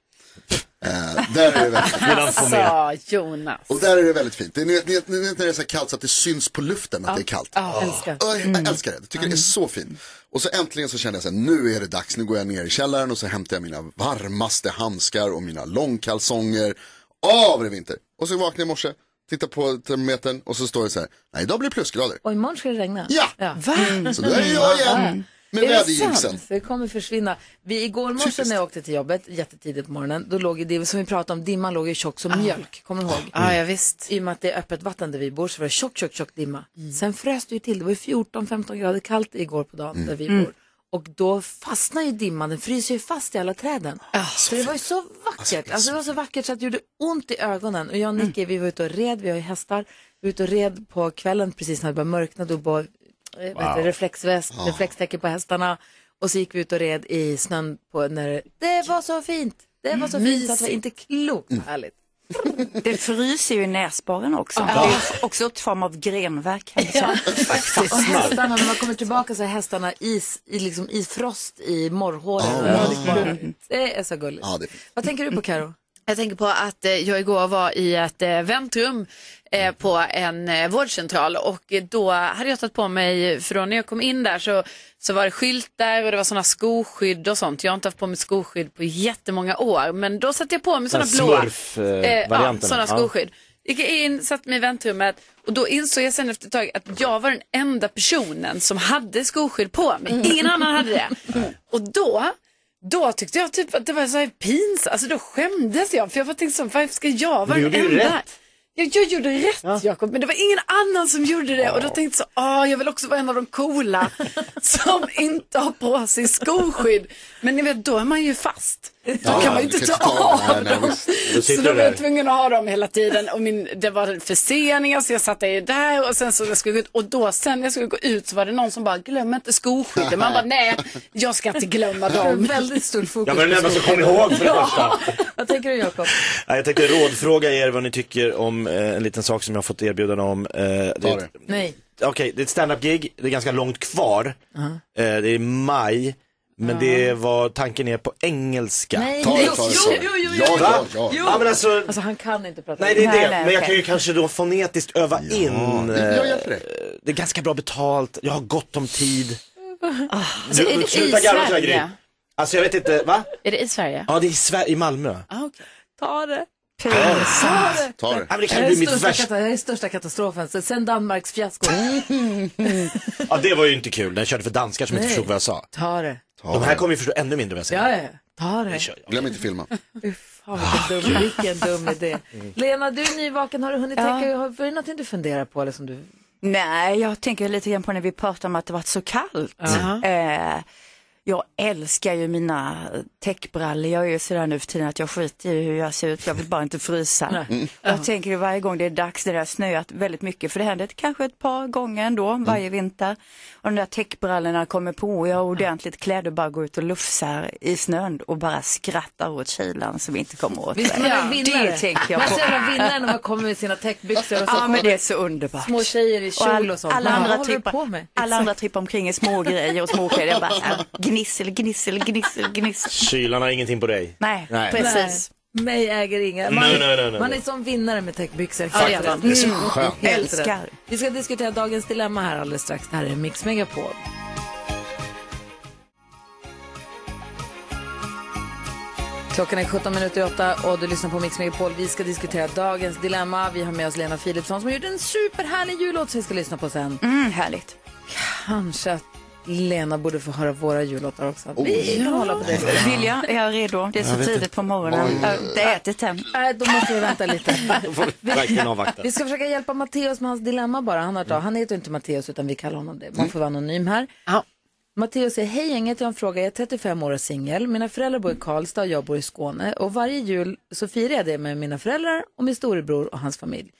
Speaker 5: Eh, där är det väldigt
Speaker 7: Alltså, Jonas.
Speaker 5: Och där är det väldigt fint. Det är, ni, vet- ni, vet- ni vet när det är så här kallt så att det syns på luften att det är kallt.
Speaker 7: Ja, älskar.
Speaker 5: Ö, Jag älskar det, jag tycker det är så fint. Och så äntligen så kände jag så här, nu är det dags, nu går jag ner i källaren och så hämtar jag mina varmaste handskar och mina långkalsonger. Av det är vinter! Och så vaknade jag i morse, tittar på termometern och så står det så här, nej idag blir det plusgrader. Mm.
Speaker 3: Och imorgon ska det regna.
Speaker 5: Ja!
Speaker 3: ja.
Speaker 5: Så där är jag igen. Med
Speaker 3: Är det
Speaker 5: väderjinxen.
Speaker 3: sant? För det kommer försvinna. Vi, igår morse när jag åkte till jobbet, jättetidigt på morgonen, då låg ju det som vi pratade om, dimman låg ju tjock som mjölk. Kommer du ihåg?
Speaker 8: Ja, ja, visst.
Speaker 3: I och med att det är öppet vatten där vi bor så var det tjock, tjock, tjock dimma. Sen frös det ju till. Det var ju 14-15 grader kallt igår på dagen där vi bor.
Speaker 8: Mm.
Speaker 3: Och då fastnar ju dimman, den fryser ju fast i alla träden. Ah, så det var ju så vackert. Alltså, det var så Mm. vackert så att det gjorde ont i ögonen. Och jag och Nicky, vi var ute och red, vi har ju hästar. Vi var ute och red på kvällen precis när det började mörkna. Då bara, eh, vad heter det,
Speaker 8: Wow.
Speaker 3: reflexväst,
Speaker 8: Ja.
Speaker 3: reflextäcke på hästarna. Och så gick vi ut och red i snön på när det var så fint. Det var så fint så att det var inte klokt härligt.
Speaker 14: Det fryser ju i näsborren också.
Speaker 3: Ja.
Speaker 14: Det är ju också ett form av grenverk. här, så.
Speaker 3: Och hästarna, när man kommer tillbaka så är hästarna is, i, liksom, i frost i morrhåren.
Speaker 14: Oh,
Speaker 3: Och det är
Speaker 14: wow.
Speaker 3: gulligt. det är så gulligt.
Speaker 5: Ja, det är
Speaker 3: Vad tänker du på Karo?
Speaker 7: Jag tänker på att eh, jag igår var i ett eh, väntrum eh, på en eh, vårdcentral och eh, då hade jag tagit på mig, för då när jag kom in där så, så var det skyltar och det var sådana skoskydd och sånt. Jag har inte haft på mig skoskydd på jättemånga år men då satte jag på mig sådana
Speaker 16: Den
Speaker 7: blåa. Eh, ja,
Speaker 16: Smurf-varianten.
Speaker 7: sådana skoskydd. Gick jag in, satt mig i väntrummet och då insåg jag sen efter ett tag att jag var den enda personen som hade skoskydd på mig. Ingen annan hade det. Och då, då tyckte jag typ att det var så här pinsamt, alltså då skämdes jag för jag var tänkte så, varför ska jag vara
Speaker 8: Du
Speaker 7: den
Speaker 8: gjorde ju
Speaker 7: enda?
Speaker 8: rätt.
Speaker 7: Jag, jag gjorde rätt Jakob, men det var ingen annan som gjorde det och då tänkte jag så, ah, jag vill också vara en av de coola som inte har på sig skoskydd. Men ni vet, då är man ju fast. Då
Speaker 8: Ja,
Speaker 7: kan man ju
Speaker 8: du
Speaker 7: inte
Speaker 8: kan
Speaker 7: ta
Speaker 8: inte ta av dem. Nej,
Speaker 7: av
Speaker 8: nej,
Speaker 7: dem.
Speaker 8: visst. Då
Speaker 7: Så
Speaker 8: sitter
Speaker 7: då
Speaker 8: du
Speaker 7: var jag
Speaker 8: där.
Speaker 7: tvungen att ha dem hela tiden och min, det var förseningar så jag satt där, där och sen så jag skulle gå ut och då sen när jag skulle gå ut så var det någon som bara glöm inte skoskydden. Man bara nej, jag ska inte glömma dem.
Speaker 3: Väldigt stor fokus.
Speaker 4: Jag var den enda som kom ihåg för det första.
Speaker 3: Vad tänker du Jakob?
Speaker 4: Nej, Jag tänkte rådfråga er vad ni tycker om eh, en liten sak som jag har fått erbjudande om. Eh, det är ett-
Speaker 3: Nej.
Speaker 4: Okej, det är ett stand-up-gig, det är ganska långt kvar.
Speaker 3: Uh-huh.
Speaker 4: Eh, Det är i maj, men det var, tanken är på engelska.
Speaker 3: Nej, nej. Jo, jo, jo, jo,
Speaker 4: Va?
Speaker 3: jo.
Speaker 4: Ja, men alltså,
Speaker 3: Alltså han kan inte prata.
Speaker 4: Nej det är det, men jag
Speaker 3: okej.
Speaker 4: kan ju kanske då fonetiskt öva in.
Speaker 5: det- jag
Speaker 4: eh,
Speaker 5: hjälper dig.
Speaker 4: Det är ganska bra betalt, jag har gott om tid.
Speaker 3: Ah.
Speaker 7: Alltså, är det i
Speaker 4: garva, Gry.
Speaker 7: Sverige?
Speaker 4: Alltså jag vet inte, va?
Speaker 7: Är det i Sverige?
Speaker 4: Ja det är i, Sverige, i Malmö.
Speaker 7: Ah, okay.
Speaker 3: Ta det.
Speaker 4: Pinsamt. Ta det. Ja, men det kan
Speaker 3: är
Speaker 4: bli mitt
Speaker 3: största
Speaker 4: värsta-
Speaker 3: kata- Det här är största katastrofen så- sen Danmarks fiasko.
Speaker 4: Ja det var ju inte kul, den körde för danskar som inte
Speaker 3: Nej.
Speaker 4: förstod vad jag sa.
Speaker 3: Ta det.
Speaker 4: De här kommer ju förstå ännu mindre vad jag säger.
Speaker 3: Ja, ja. Ta det.
Speaker 5: Glöm inte filma.
Speaker 3: Fan, vilken, dum, vilken dum idé.
Speaker 4: Mm.
Speaker 3: Lena, du är nyvaken. Har du hunnit
Speaker 14: Ja.
Speaker 3: tänka? Har var det någonting du funderar på? Eller som du...
Speaker 14: Nej, jag tänker lite grann på när vi pratade om att det varit så kallt. Eh, jag älskar ju mina täckbrallor. Jag är ju sådär nu för tiden att jag skiter i hur jag ser ut. Jag vill bara inte frysa.
Speaker 17: Nej. Mm.
Speaker 14: Och Jag tänker ju varje gång det är dags när det har snöat väldigt mycket. För det händer ett- kanske ett par gånger ändå varje vinter. Och de där täckbrallorna kommer på och jag är ordentligt klädd och bara går ut och lufsar i snön och bara skrattar åt kylan som inte kommer åt
Speaker 3: Visst är
Speaker 14: mig.
Speaker 3: man en vinnare?
Speaker 14: Det tänker jag
Speaker 3: Man
Speaker 14: på.
Speaker 3: ser man vinnaren när man kommer med sina täckbyxor och så
Speaker 14: Ja, men
Speaker 3: kommer
Speaker 14: det är så underbart.
Speaker 3: små tjejer i kjol och,
Speaker 14: Och all-
Speaker 3: sånt.
Speaker 14: alla
Speaker 3: Man bara,
Speaker 14: andra
Speaker 3: vad håller du
Speaker 14: trippar-
Speaker 3: på med?
Speaker 14: Alla andra trippar omkring i små grejer och små kläder. Jag bara äh, gnissel, gnissel, gnissel, gnissel.
Speaker 4: Kylan har ingenting på dig.
Speaker 14: Nej, precis.
Speaker 3: Nej. Mig äger inga. Man,
Speaker 4: Nej, nej, nej, nej.
Speaker 3: man är som vinnare med täckbyxor.
Speaker 4: Faktiskt. Det är så skönt.
Speaker 3: Mm. Helt rätt.
Speaker 14: Älskar.
Speaker 3: Vi ska diskutera dagens dilemma här alldeles strax. Det här är Mix Megapol. Klockan är 17 minuter i åtta och du lyssnar på Mix Megapol. Vi ska diskutera dagens dilemma. Vi har med oss Lena Philipsson som har gjort en superhärlig jullåt som vi ska lyssna på sen.
Speaker 14: Mm, härligt.
Speaker 3: Kanske att Lena borde få höra våra jullåtar också.
Speaker 4: Oh.
Speaker 3: vi kan hålla på det.
Speaker 14: Vilja, är jag redo? Det är så
Speaker 3: Jag vet
Speaker 14: tidigt
Speaker 3: inte.
Speaker 14: på morgonen.
Speaker 3: Oj.
Speaker 14: Jag har inte ätit än.
Speaker 3: Nej, då måste vi vänta lite.
Speaker 4: Verkligen avvakta.
Speaker 3: Vi ska försöka hjälpa Matteus med hans dilemma bara. Han, har, han heter ju inte Matteus utan vi kallar honom det. Man får vara anonym här. Matteus säger, hej gänget, jag har en fråga. Jag är 35 år och singel. Mina föräldrar bor i Karlstad och jag bor i Skåne. Och varje jul så firar jag det med mina föräldrar och min storebror och hans familj.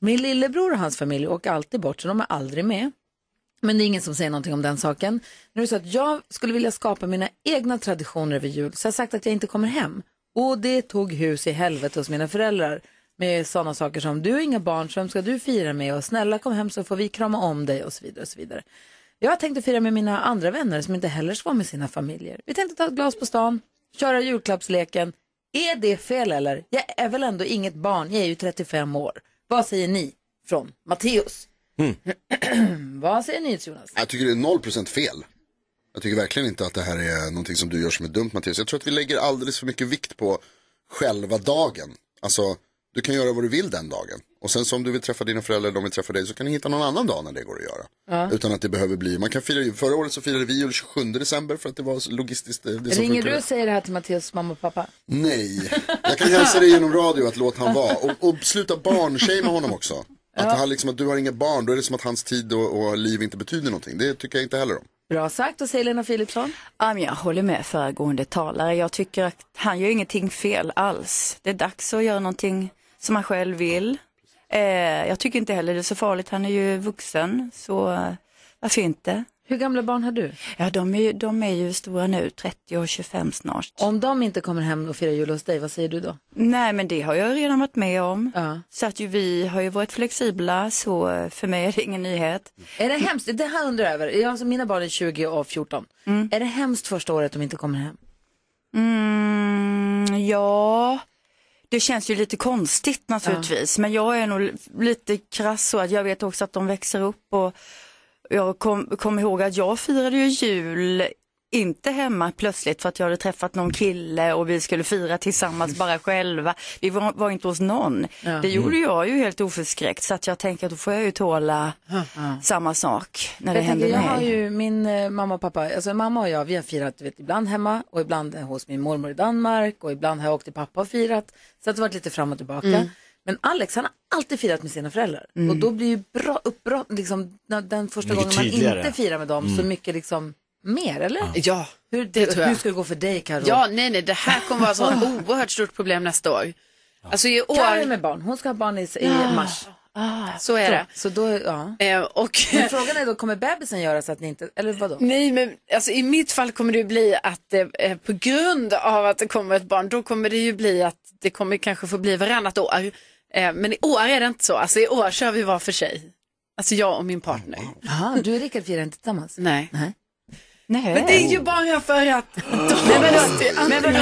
Speaker 3: Min lillebror och hans familj åker alltid bort så de är aldrig med. Men det är ingen som säger någonting om den saken. Nu är det så att jag skulle vilja skapa mina egna traditioner över jul. Så jag har sagt att jag inte kommer hem. Och det tog hus i helvete hos mina föräldrar. Med sådana saker som du har inga barn, så vem ska du fira med? Och snälla kom hem så får vi krama om dig och så vidare. Och så vidare. Jag har tänkt att fira med mina andra vänner som inte heller ska vara med sina familjer. Vi tänkte ta ett glas på stan, köra julklappsleken. Är det fel eller? Jag är väl ändå inget barn, jag är ju 35 år. Vad säger ni? Från Matteus. Vad säger ni Jonas?
Speaker 5: Jag tycker det är 0% fel. Jag tycker verkligen inte att det här är någonting som du gör som är dumt Mattias. Jag tror att vi lägger alldeles för mycket vikt på själva dagen. Alltså Du kan göra vad du vill den dagen. Och sen så om du vill träffa dina föräldrar eller de vill träffa dig så kan du hitta någon annan dag när det går att göra.
Speaker 3: Ja.
Speaker 5: Utan att det behöver bli, man kan fira, förra året så firade vi jul 27 december för att det var så logistiskt. eh, Det som
Speaker 3: Ringer
Speaker 5: funkade.
Speaker 3: du och säger det här till Mattias mamma och pappa?
Speaker 5: Nej, jag kan hälsa dig genom radio att låt han vara. Och, och sluta barnshamea honom också. Att, han liksom, att du har inga barn, då är det som att hans tid och, och liv inte betyder någonting. Det tycker jag inte heller om.
Speaker 3: Bra sagt, och säger Lena Philipsson.
Speaker 14: Ja, men jag håller med föregående talare. Jag tycker att han gör ingenting fel alls. Det är dags att göra någonting som han själv vill. Eh, jag tycker inte heller det är så farligt. Han är ju vuxen, så eh, varför inte?
Speaker 3: Hur gamla barn har du?
Speaker 14: Ja, de är, ju- de är ju stora nu, 30 och 25 snart.
Speaker 3: Om de inte kommer hem och firar jul hos dig, vad säger du då?
Speaker 14: Nej, men det har jag redan varit med om. Så att ju, vi har ju varit flexibla, så eh, för mig är det ingen nyhet.
Speaker 3: Är det hemskt? Det här undrar jag över. Jag, alltså, mina barn är 20 och 14. Är det hemskt första året de inte kommer hem?
Speaker 14: Mm, ja, det känns ju lite konstigt naturligtvis. Men jag är nog li- lite krass så att jag vet också att de växer upp. Och jag kom, kom ihåg att jag firade ju jul inte hemma plötsligt för att jag hade träffat någon kille och vi skulle fira tillsammans bara själva. Vi var, var inte hos någon.
Speaker 8: Ja.
Speaker 14: Det gjorde
Speaker 8: Mm.
Speaker 14: jag ju helt oförskräckt så att jag tänker att då får jag ju tåla samma sak när det
Speaker 3: jag
Speaker 14: händer
Speaker 3: tänker, jag
Speaker 14: mig.
Speaker 3: har ju min eh, mamma och pappa, alltså mamma och jag, vi har firat du vet, ibland hemma och ibland hos min mormor i Danmark och ibland har jag åkt till pappa och firat. Så att det har varit lite fram och tillbaka.
Speaker 14: Mm.
Speaker 3: Men Alex han har alltid firat med sina föräldrar
Speaker 14: Mm.
Speaker 3: och då blir ju bra uppbrott, liksom, när- den första
Speaker 14: Mycket
Speaker 3: gången man
Speaker 14: tydligare.
Speaker 3: inte firar med dem så
Speaker 14: Mm.
Speaker 3: mycket liksom mer, eller?
Speaker 7: Ja,
Speaker 3: hur,
Speaker 7: det tror jag.
Speaker 3: Hur ska det gå för dig Karo?
Speaker 7: Ja, nej, nej, det här kommer vara ett sånt oerhört stort problem nästa år. Alltså i år...
Speaker 3: Karo är med barn, hon ska ha barn i, i
Speaker 7: Ja.
Speaker 3: mars.
Speaker 7: Så är det. Eh,
Speaker 3: Så då, ja. Men frågan är då, kommer bebisen göra så att ni inte, eller vadå?
Speaker 7: Nej, men alltså, i mitt fall kommer det ju bli att eh, eh, på grund av att det kommer ett barn, då kommer det ju bli att det kommer kanske få bli varannat år. Eh, men i år är det inte så. Alltså i år kör vi var för sig. Alltså jag och min partner.
Speaker 3: Jaha, du och Rickard firar inte tillsammans?
Speaker 7: Nej.
Speaker 3: Nej.
Speaker 7: Men det är ju bara för att
Speaker 14: Men, vadå?
Speaker 7: men,
Speaker 14: men, vadå?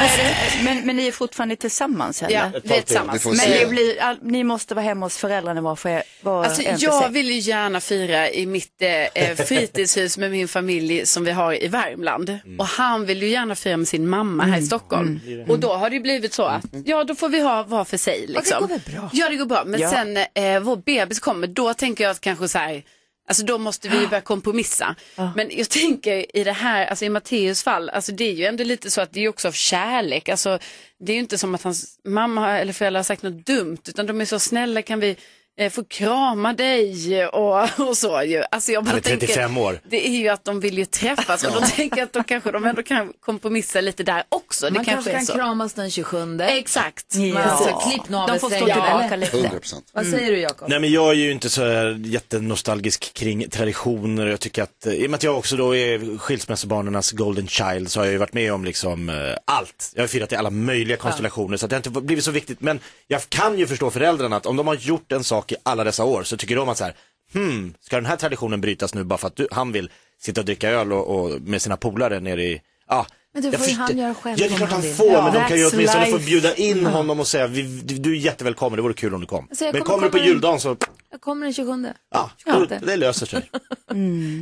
Speaker 14: men, men ni är fortfarande tillsammans eller?
Speaker 7: Ja, vi är Ett tag till. tillsammans. Vi får
Speaker 14: Men
Speaker 7: se.
Speaker 14: det blir, all, ni måste vara hemma hos föräldrarna var, för, var
Speaker 7: Alltså,
Speaker 14: en för
Speaker 7: jag
Speaker 14: sig.
Speaker 7: vill ju gärna fira i mitt eh, eh, fritidshus med min familj som vi har i Värmland. Och han vill ju gärna fira med sin mamma här i Stockholm.
Speaker 8: Mm.
Speaker 7: Och då har det ju blivit så att, ja då får vi ha var för sig liksom.
Speaker 8: går väl bra?
Speaker 7: Ja det går bra, men
Speaker 8: Ja.
Speaker 7: sen eh, vår bebis kommer, då tänker jag att kanske så här, alltså då måste vi ju börja kompromissa. Men jag tänker i det här, alltså i Matteus fall, alltså det är ju ändå lite så att det är ju också av kärlek, alltså det är ju inte som att hans mamma har- eller föräldrar har sagt något dumt, utan de är så snälla, kan vi eh, få krama dig och, och så ju. Alltså jag bara
Speaker 4: Han är 35
Speaker 7: tänker,
Speaker 4: år.
Speaker 7: det är ju att de vill ju träffas och då
Speaker 4: Ja.
Speaker 7: tänker jag att då kanske de ändå kan kompromissa lite där också. Det
Speaker 3: Man kanske,
Speaker 7: är
Speaker 3: kan
Speaker 7: så.
Speaker 3: kramas den 27. Exakt.
Speaker 7: Ja.
Speaker 3: Alltså, klipp
Speaker 7: De får stå
Speaker 3: navelsträngen,
Speaker 7: tillbaka
Speaker 3: eller?
Speaker 7: lite. 100%.
Speaker 3: Vad säger du Jakob?
Speaker 4: Nej men jag är ju inte så här jättenostalgisk kring traditioner. Jag tycker att, eh, i och med att jag också då är skilsmässobarnens golden child så har jag ju varit med om liksom eh, allt. Jag har firat i alla möjliga konstellationer så att det har inte blivit så viktigt. Men jag kan ju förstå föräldrarna att om de har gjort en sak i alla dessa år så tycker de att så här, hmm, ska den här traditionen brytas nu bara för att du, han vill sitta och dricka öl och, och med sina polare nere i, ja.
Speaker 3: Men det
Speaker 4: jag
Speaker 3: får ju
Speaker 4: förstår-
Speaker 3: han göra själv
Speaker 4: Ja, det är
Speaker 3: om
Speaker 4: klart
Speaker 3: han
Speaker 4: han
Speaker 3: vill.
Speaker 4: får,
Speaker 3: Ja.
Speaker 4: men de kan ju
Speaker 3: That's
Speaker 4: åtminstone få
Speaker 3: life.
Speaker 4: bjuda in
Speaker 3: Ja.
Speaker 4: honom och säga, vi, du du är jättevälkommen, det vore kul om du kom.
Speaker 3: Alltså, jag
Speaker 4: men
Speaker 3: kommer
Speaker 4: kommer du på
Speaker 3: komma-
Speaker 4: juldagen så,
Speaker 3: Jag kommer den 27.
Speaker 4: ja,
Speaker 3: Ja, det-
Speaker 4: det. löser sig.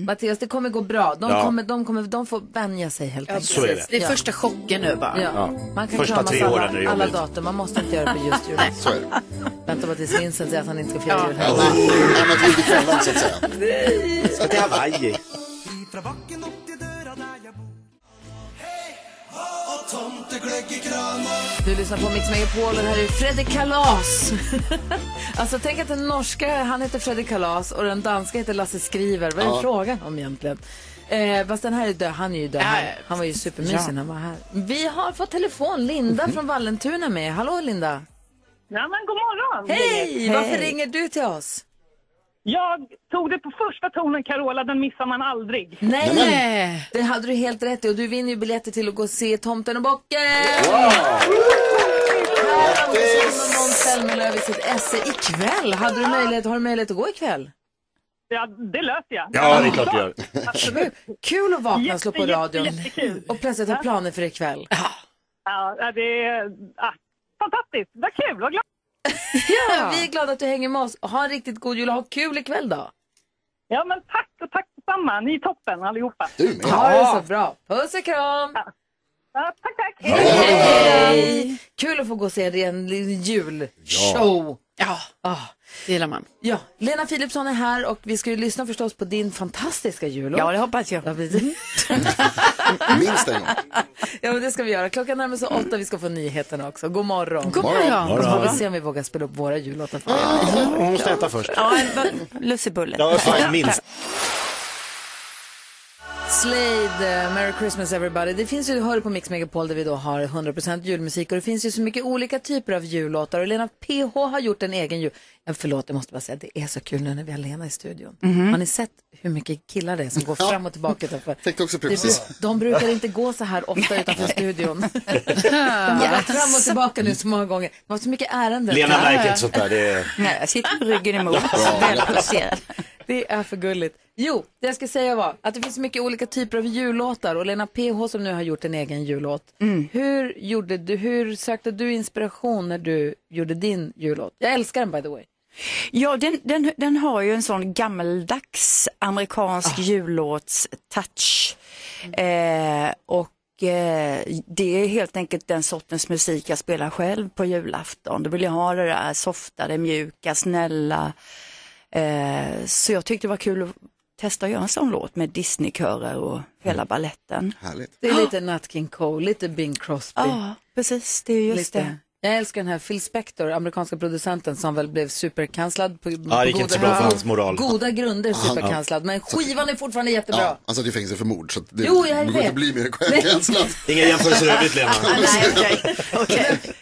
Speaker 3: Mattias, det kommer gå bra. De,
Speaker 4: Ja.
Speaker 3: kommer, de, kommer, de får vänja sig helt
Speaker 4: Ja,
Speaker 3: enkelt.
Speaker 4: så är det. Det är
Speaker 7: första chocken nu bara.
Speaker 3: Ja.
Speaker 4: Ja.
Speaker 3: Man kan
Speaker 4: Första
Speaker 3: kramas
Speaker 4: tre åren är det
Speaker 3: alla, alla
Speaker 4: jobbigt.
Speaker 3: datum. Man måste inte göra det på just jul.
Speaker 5: Så är det.
Speaker 3: Vänta bara tills Vincent säger att han inte ska fira jul
Speaker 5: Ja,
Speaker 3: heller.
Speaker 5: annat ljud i kvällen, så att säga.
Speaker 4: Ska till Hawaii.
Speaker 3: Du lyssnar på Mix Megapol och det här är Fredrik Kalas. alltså tänk att den norska, han heter Fredrik Kalas och den danska heter Lasse Skriver. Vad är
Speaker 8: Ja.
Speaker 3: frågan om egentligen? Eh, fast den här är död, han är ju död. Han, han var ju supermysig
Speaker 8: Ja. Mhm.
Speaker 3: när han var här. Vi har fått telefon, Linda från Vallentuna med. Hallå Linda!
Speaker 18: Ja, men god morgon!
Speaker 3: Hej! Varför ringer du till oss?
Speaker 18: Jag tog det på första tonen, Carola, den missar man aldrig.
Speaker 3: Nej! Det hade du helt rätt i och du vinner ju biljetter till att gå och se Tomten och bocken! Här har vi Susanne och Måns Zelmerlöw i sitt esse ikväll. Hade du möjlighet, har du möjlighet att gå ikväll?
Speaker 18: Ja, det löser jag.
Speaker 4: Ja, det är klart du gör.
Speaker 18: Absolut.
Speaker 3: Kul att vakna och slå på
Speaker 18: Jätte, jätte,
Speaker 3: radion
Speaker 18: jättekul.
Speaker 3: och plötsligt ha planer för ikväll.
Speaker 18: Ja, det är ah, fantastiskt. Vad kul, vad glad
Speaker 3: Ja, vi är glada att du hänger med oss. Ha en riktigt god jul och ha kul ikväll då.
Speaker 18: Ja, men tack och tack detsamma. Ni är toppen allihopa.
Speaker 3: Ha det så bra. Puss och kram!
Speaker 18: Ja,
Speaker 19: Ja, tack, tack.
Speaker 3: Hej! Kul att få gå och se en ren julshow.
Speaker 20: Ja. det gillar man.
Speaker 3: Ja, Lena Philipsson är här och vi ska ju lyssna förstås på din fantastiska jullåt.
Speaker 14: Ja, det hoppas jag.
Speaker 5: Minst en gång.
Speaker 3: Ja, men det ska vi göra. Klockan närmar sig åtta, vi ska få nyheterna också. God morgon.
Speaker 14: God morgon. God morgon.
Speaker 3: Så får vi se om vi vågar spela upp våra jullåtar för er.
Speaker 4: Hon måste äta först.
Speaker 14: Ja, en lussebulle.
Speaker 4: Ja, fan, minst.
Speaker 3: Slade, eh, Merry Christmas everybody. Det finns ju, hör du på Mix Megapol där vi då har 100% julmusik och det finns ju så mycket olika typer av jullåtar och Lena PH har gjort en egen jul. Eh, Förlåt, jag måste bara säga, det är så kul nu när vi har Lena i studion.
Speaker 14: Mhm.
Speaker 3: Har ni sett hur mycket killar det är som går fram och tillbaka utanför?
Speaker 5: Tänkte också
Speaker 3: Det-
Speaker 5: precis.
Speaker 3: De brukar inte gå så här ofta utanför studion. De har
Speaker 14: Yes.
Speaker 3: varit fram och tillbaka nu så många gånger. Det var så mycket ärenden.
Speaker 4: Lena märker inte sånt där. Det är...
Speaker 14: Nej, jag sitter med ryggen emot. Välplacerad.
Speaker 3: Det är för gulligt. Jo, det jag ska säga var att det finns mycket olika typer av jullåtar och Lena PH som nu har gjort en egen jullåt.
Speaker 14: Mm.
Speaker 3: Hur, gjorde du, hur sökte du inspiration när du gjorde din jullåt? Jag älskar den by the way.
Speaker 14: Ja, den, den, den har ju en sån gammaldags amerikansk jullåts-touch. Eh, och eh, det är helt enkelt den sortens musik jag spelar själv på julafton. Då vill jag ha det där softa, det mjuka, snälla. Eh, så jag tyckte det var kul att testa att göra en sån låt med Disneykörer och hela balletten.
Speaker 5: Härligt.
Speaker 3: Det är
Speaker 14: Ah.
Speaker 3: lite Nat King Cole, lite Bing Crosby.
Speaker 14: Ja, precis. Det är Ah, just
Speaker 3: lite.
Speaker 14: det.
Speaker 3: Jag älskar den här Phil Spector, amerikanska producenten som väl blev superkanslad på,
Speaker 5: Ja, det gick
Speaker 3: på
Speaker 5: inte så bra för hans moral.
Speaker 3: goda grunder
Speaker 5: Han-
Speaker 3: superkanslad. Men skivan är fortfarande jättebra.
Speaker 5: Ja, han satt i fängelse för mord så att det
Speaker 3: Jo, jag
Speaker 5: det går
Speaker 3: vet.
Speaker 5: inte bli mer
Speaker 3: Nej.
Speaker 5: självkänsla.
Speaker 4: Inga jämförelser i övrigt, Lena.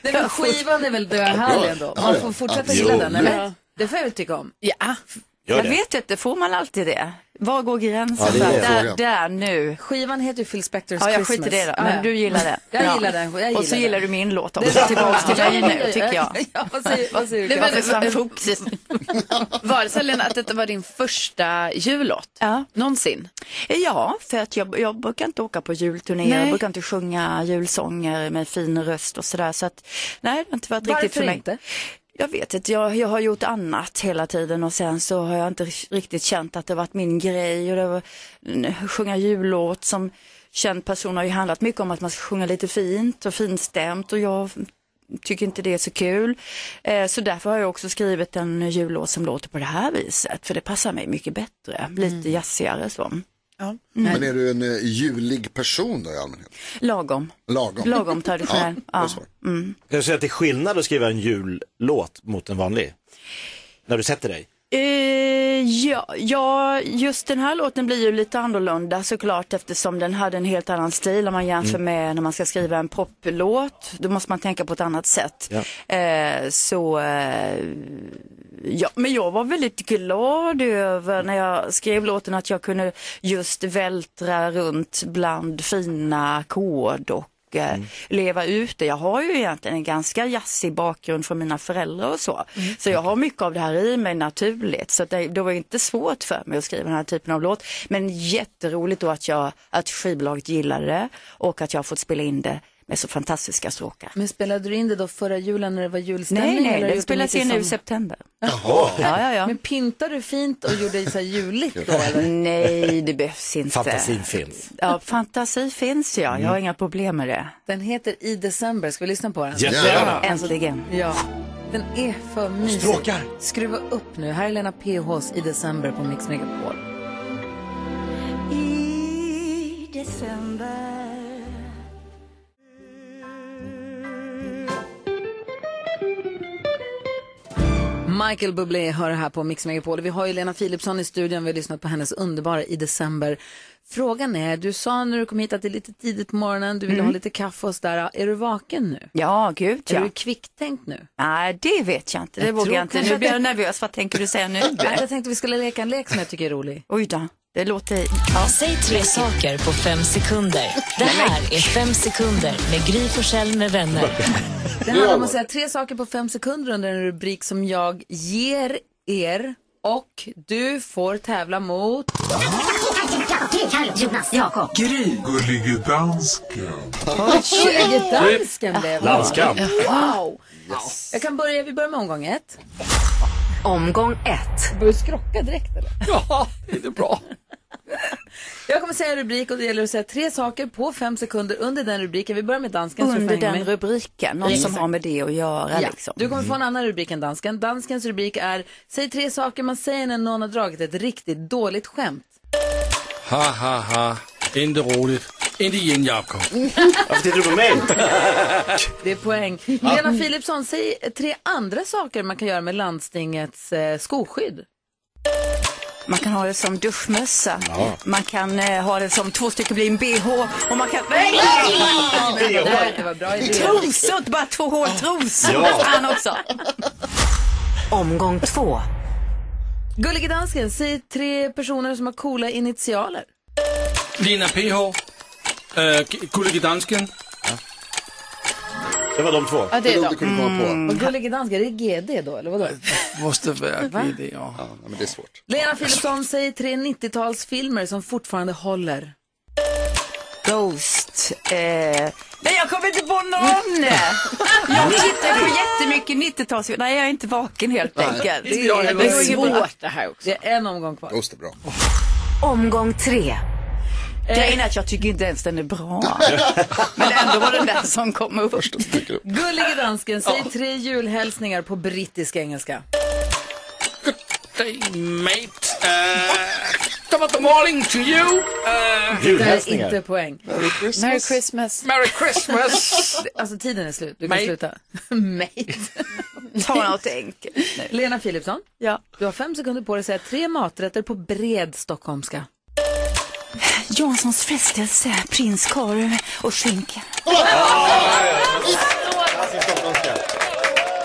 Speaker 3: Den här skivan är väl döhärlig ändå?
Speaker 14: Ja,
Speaker 3: Man
Speaker 14: ja.
Speaker 3: får fortsätta
Speaker 14: Absolut.
Speaker 3: gilla den, eller?
Speaker 14: Ja.
Speaker 3: Det får jag väl tycka om.
Speaker 20: Ja.
Speaker 14: Gör Jag det. vet inte, får man alltid det? Var går gränsen?
Speaker 3: Ja, det är
Speaker 14: där,
Speaker 3: frågan.
Speaker 14: där, nu.
Speaker 3: Skivan heter ju Phil Spectors
Speaker 14: Ja, jag
Speaker 3: Christmas.
Speaker 14: skiter i det då. Men
Speaker 3: Ja.
Speaker 14: du gillar den.
Speaker 3: Jag
Speaker 14: Ja.
Speaker 3: gillar den. Jag
Speaker 14: Och så
Speaker 3: den.
Speaker 14: gillar du min låt
Speaker 3: Det
Speaker 14: också.
Speaker 3: är-
Speaker 14: Tillbaks till
Speaker 3: Ja,
Speaker 14: mig
Speaker 3: ja,
Speaker 14: nu,
Speaker 3: ja.
Speaker 14: tycker jag.
Speaker 3: Ja, vad säger, vad säger du?
Speaker 14: Nej, men-
Speaker 3: Varför slam-
Speaker 14: fokus.
Speaker 20: Var det så Lena att detta var din första jullåt?
Speaker 14: Ja.
Speaker 20: Någonsin?
Speaker 14: Ja, för att jag, jag brukar inte åka på julturnéer,
Speaker 20: Nej.
Speaker 14: jag brukar inte sjunga julsånger med fin röst och sådär. Så att, nej, det har inte varit riktigt
Speaker 3: Varför
Speaker 14: för mig.
Speaker 3: inte?
Speaker 14: Jag vet inte, jag, jag har gjort annat hela tiden och sen så har jag inte riktigt känt att det varit min grej. Och det var, n- sjunga jullåt som känd person har ju handlat mycket om att man ska sjunga lite fint och finstämt och jag tycker inte det är så kul. Eh, så därför har jag också skrivit en jullåt som låter på det här viset, för det passar mig mycket bättre,
Speaker 3: Mm.
Speaker 14: lite jazzigare så.
Speaker 5: Men är du en eh, julig person då i allmänhet?
Speaker 14: Lagom.
Speaker 5: Lagom.
Speaker 14: Lagom traditionell.
Speaker 5: Ja,
Speaker 14: Ja.
Speaker 5: det är
Speaker 14: Mm.
Speaker 4: Kan du säga att det är skillnad att skriva en jullåt mot en vanlig? När du sätter dig?
Speaker 14: Eh, ja, ja, just den här låten blir ju lite annorlunda såklart eftersom den hade en helt annan stil om man jämför
Speaker 20: Mm.
Speaker 14: med när man ska skriva en poplåt. Då måste man tänka på ett annat sätt. Eh, så, eh, ja, men jag var väldigt glad över när jag skrev låten att jag kunde just vältra runt bland fina ackord och eh, leva ut det. Jag har ju egentligen en ganska jazzig bakgrund från mina föräldrar och så. Så jag har mycket av det här i mig naturligt. Så att det, det var inte svårt för mig att skriva den här typen av låt. Men jätteroligt då att, jag, att skivbolaget gillade det och att jag har fått spela in det med så fantastiska stråkar.
Speaker 3: Men spelade du in det då förra julen när det var julstämning?
Speaker 14: Nej,
Speaker 3: eller
Speaker 14: nej,
Speaker 3: har du
Speaker 14: den
Speaker 3: gjort
Speaker 14: spelas
Speaker 3: mitt
Speaker 14: in nu i
Speaker 3: sommar?
Speaker 14: september.
Speaker 4: Jaha.
Speaker 14: Ja, ja, ja.
Speaker 3: Men pyntar du fint och gjorde så här juligt då?
Speaker 14: Nej, det behövs inte.
Speaker 4: Fantasin finns.
Speaker 14: Ja, fantasi finns ja.
Speaker 3: Mm.
Speaker 14: Jag har inga problem med det.
Speaker 3: Den heter I december, ska vi lyssna på den?
Speaker 14: Jättegärna. Äntligen.
Speaker 3: Ja, den är för mysig.
Speaker 14: Stråkar.
Speaker 3: Skruva upp nu. Här är Lena PHs I december på Mix Megapol.
Speaker 13: I december
Speaker 3: Michael Bublé hör här på Mix Megapol. Vi har ju Lena Philipsson i studion. Vi har lyssnat på hennes underbara i december. Frågan är, du sa när du kom hit att det är lite tidigt på morgonen, du ville
Speaker 14: Mm.
Speaker 3: ha lite kaffe och sådär. Är du vaken nu?
Speaker 14: Ja, gud ja.
Speaker 3: Är du kvicktänkt nu?
Speaker 14: Nej, det vet jag inte. Det
Speaker 3: Jag
Speaker 14: vågar
Speaker 3: tror
Speaker 14: jag inte.
Speaker 3: kanske
Speaker 14: Nu
Speaker 3: att
Speaker 14: blir jag
Speaker 3: det-
Speaker 14: nervös. Vad tänker du säga nu?
Speaker 3: Nej, jag tänkte vi skulle leka en lek som jag tycker är rolig.
Speaker 14: Oj då, det låter...
Speaker 2: Säg tre saker på fem sekunder. Det här är fem sekunder med Gry Forssell med vänner.
Speaker 3: Det handlar om att säga tre saker på fem sekunder under en rubrik som jag ger er och du får tävla mot... Jonas, Jakob.
Speaker 15: Gry. Gullige dansken.
Speaker 3: Gullige dansken blev det.
Speaker 15: Landskamp.
Speaker 3: Wow! Jag kan börja, vi börjar med omgång ett.
Speaker 2: Omgång ett.
Speaker 3: Börjar du skrocka direkt eller?
Speaker 6: Ja, det är bra.
Speaker 3: Jag kommer säga en rubrik och det gäller att säga tre saker på fem sekunder under den rubriken. Vi börjar med dansken. så du får
Speaker 14: Under
Speaker 3: hänga
Speaker 14: den
Speaker 3: med.
Speaker 14: rubriken, någon som
Speaker 3: Exakt.
Speaker 14: har med det att göra
Speaker 3: Ja.
Speaker 14: liksom.
Speaker 3: Du kommer få en annan rubrik än dansken. Danskens rubrik är Säg tre saker man säger när någon har dragit ett riktigt dåligt skämt.
Speaker 6: Ha ha ha, inte roligt. Inte igen Jakob.
Speaker 4: Varför tittar du på mig?
Speaker 3: Det är poäng. Lena Philipsson, säg tre andra saker man kan göra med landstingets eh, skoskydd.
Speaker 14: Man kan ha det som duschmössa,
Speaker 3: Ja.
Speaker 14: man kan eh, ha det som två stycken blir en bh och man kan... Nej!
Speaker 3: Det där, det var bra idé.
Speaker 14: Trosor, bara två hål trosor.
Speaker 3: Ja.
Speaker 14: Han också.
Speaker 2: Omgång två.
Speaker 3: Gullige dansken, säg tre personer som har coola initialer.
Speaker 6: Lina PH. Äh, Gullige Dansken.
Speaker 4: Det var de två.
Speaker 3: Ja, det är de. Och Gullige dansken, är det GD då, eller vadå?
Speaker 6: Måste vara
Speaker 3: Va?
Speaker 6: GD, ja.
Speaker 5: ja men det är svårt.
Speaker 3: Lena Philipsson, säg tre 90-talsfilmer som fortfarande håller.
Speaker 14: Ghost. Eh... Nej, jag kommer inte på någon! jag tittar på jättemycket 90-tals... Nej, jag är inte vaken helt enkelt.
Speaker 3: det här också. Det är en omgång kvar.
Speaker 5: Ghost är bra.
Speaker 14: Omgång tre. Grejen är att jag tycker inte ens den är bra. Men ändå var det den som kom upp.
Speaker 3: Gullige dansken, säg tre julhälsningar på brittisk engelska.
Speaker 6: Day mate. Come on the morning to you. Uh,
Speaker 3: Det är inte poäng.
Speaker 6: Merry Christmas.
Speaker 20: Merry Christmas.
Speaker 6: Merry Christmas.
Speaker 3: alltså tiden är slut, du kan
Speaker 6: Mate.
Speaker 3: sluta. Mate.
Speaker 14: Ta något enkelt.
Speaker 3: Lena Philipsson,
Speaker 14: ja.
Speaker 3: du har fem sekunder på dig att säga tre maträtter på bred stockholmska.
Speaker 14: Janssons frestelse, prinskorv och skinka.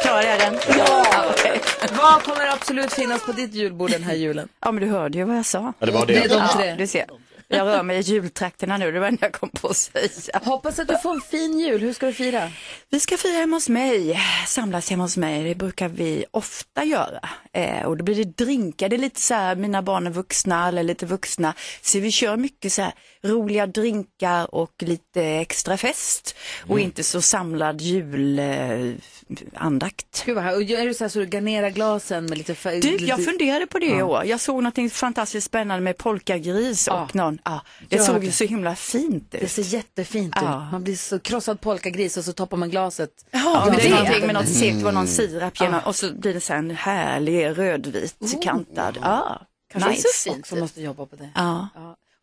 Speaker 14: Klarar jag den? Ja! okej.
Speaker 3: Vad kommer absolut finnas på ditt julbord den här julen?
Speaker 14: Ja, men du hörde ju vad jag sa.
Speaker 4: Ja, det var det.
Speaker 3: Det är de tre.
Speaker 14: Ja, du ser. Jag rör mig i jultrakterna nu, det var det jag kom på att säga.
Speaker 3: Hoppas att du får en fin jul, hur ska du fira?
Speaker 14: Vi ska fira hemma hos mig, samlas hemma hos mig, det brukar vi ofta göra. Eh, och då blir det drinkar, det är lite så här, mina barn är vuxna eller lite vuxna. Så vi kör mycket så här roliga drinkar och lite extra fest och
Speaker 3: Mm.
Speaker 14: inte så samlad eh, julandakt.
Speaker 3: Gud vad här, och är du så här så du garnerar glasen med lite färg?
Speaker 14: Du,
Speaker 3: lite...
Speaker 14: jag funderade på det i
Speaker 3: Ja.
Speaker 14: år. Jag såg något fantastiskt spännande med polkagris och någon, ja, det
Speaker 3: Gör
Speaker 14: såg
Speaker 3: det.
Speaker 14: ju så himla fint ut.
Speaker 3: Det ser jättefint
Speaker 14: Ja.
Speaker 3: ut. Man blir så krossad polkagris och så toppar man glaset.
Speaker 14: Ja, men det är någonting med något
Speaker 3: Mm.
Speaker 14: segt, det var någon sirap genom, och så blir det så här en härlig rödvit
Speaker 21: Oh.
Speaker 14: kantad. Ja,
Speaker 3: Kanske
Speaker 14: nice.
Speaker 3: så fint. Också måste jobba på det.
Speaker 14: Ja.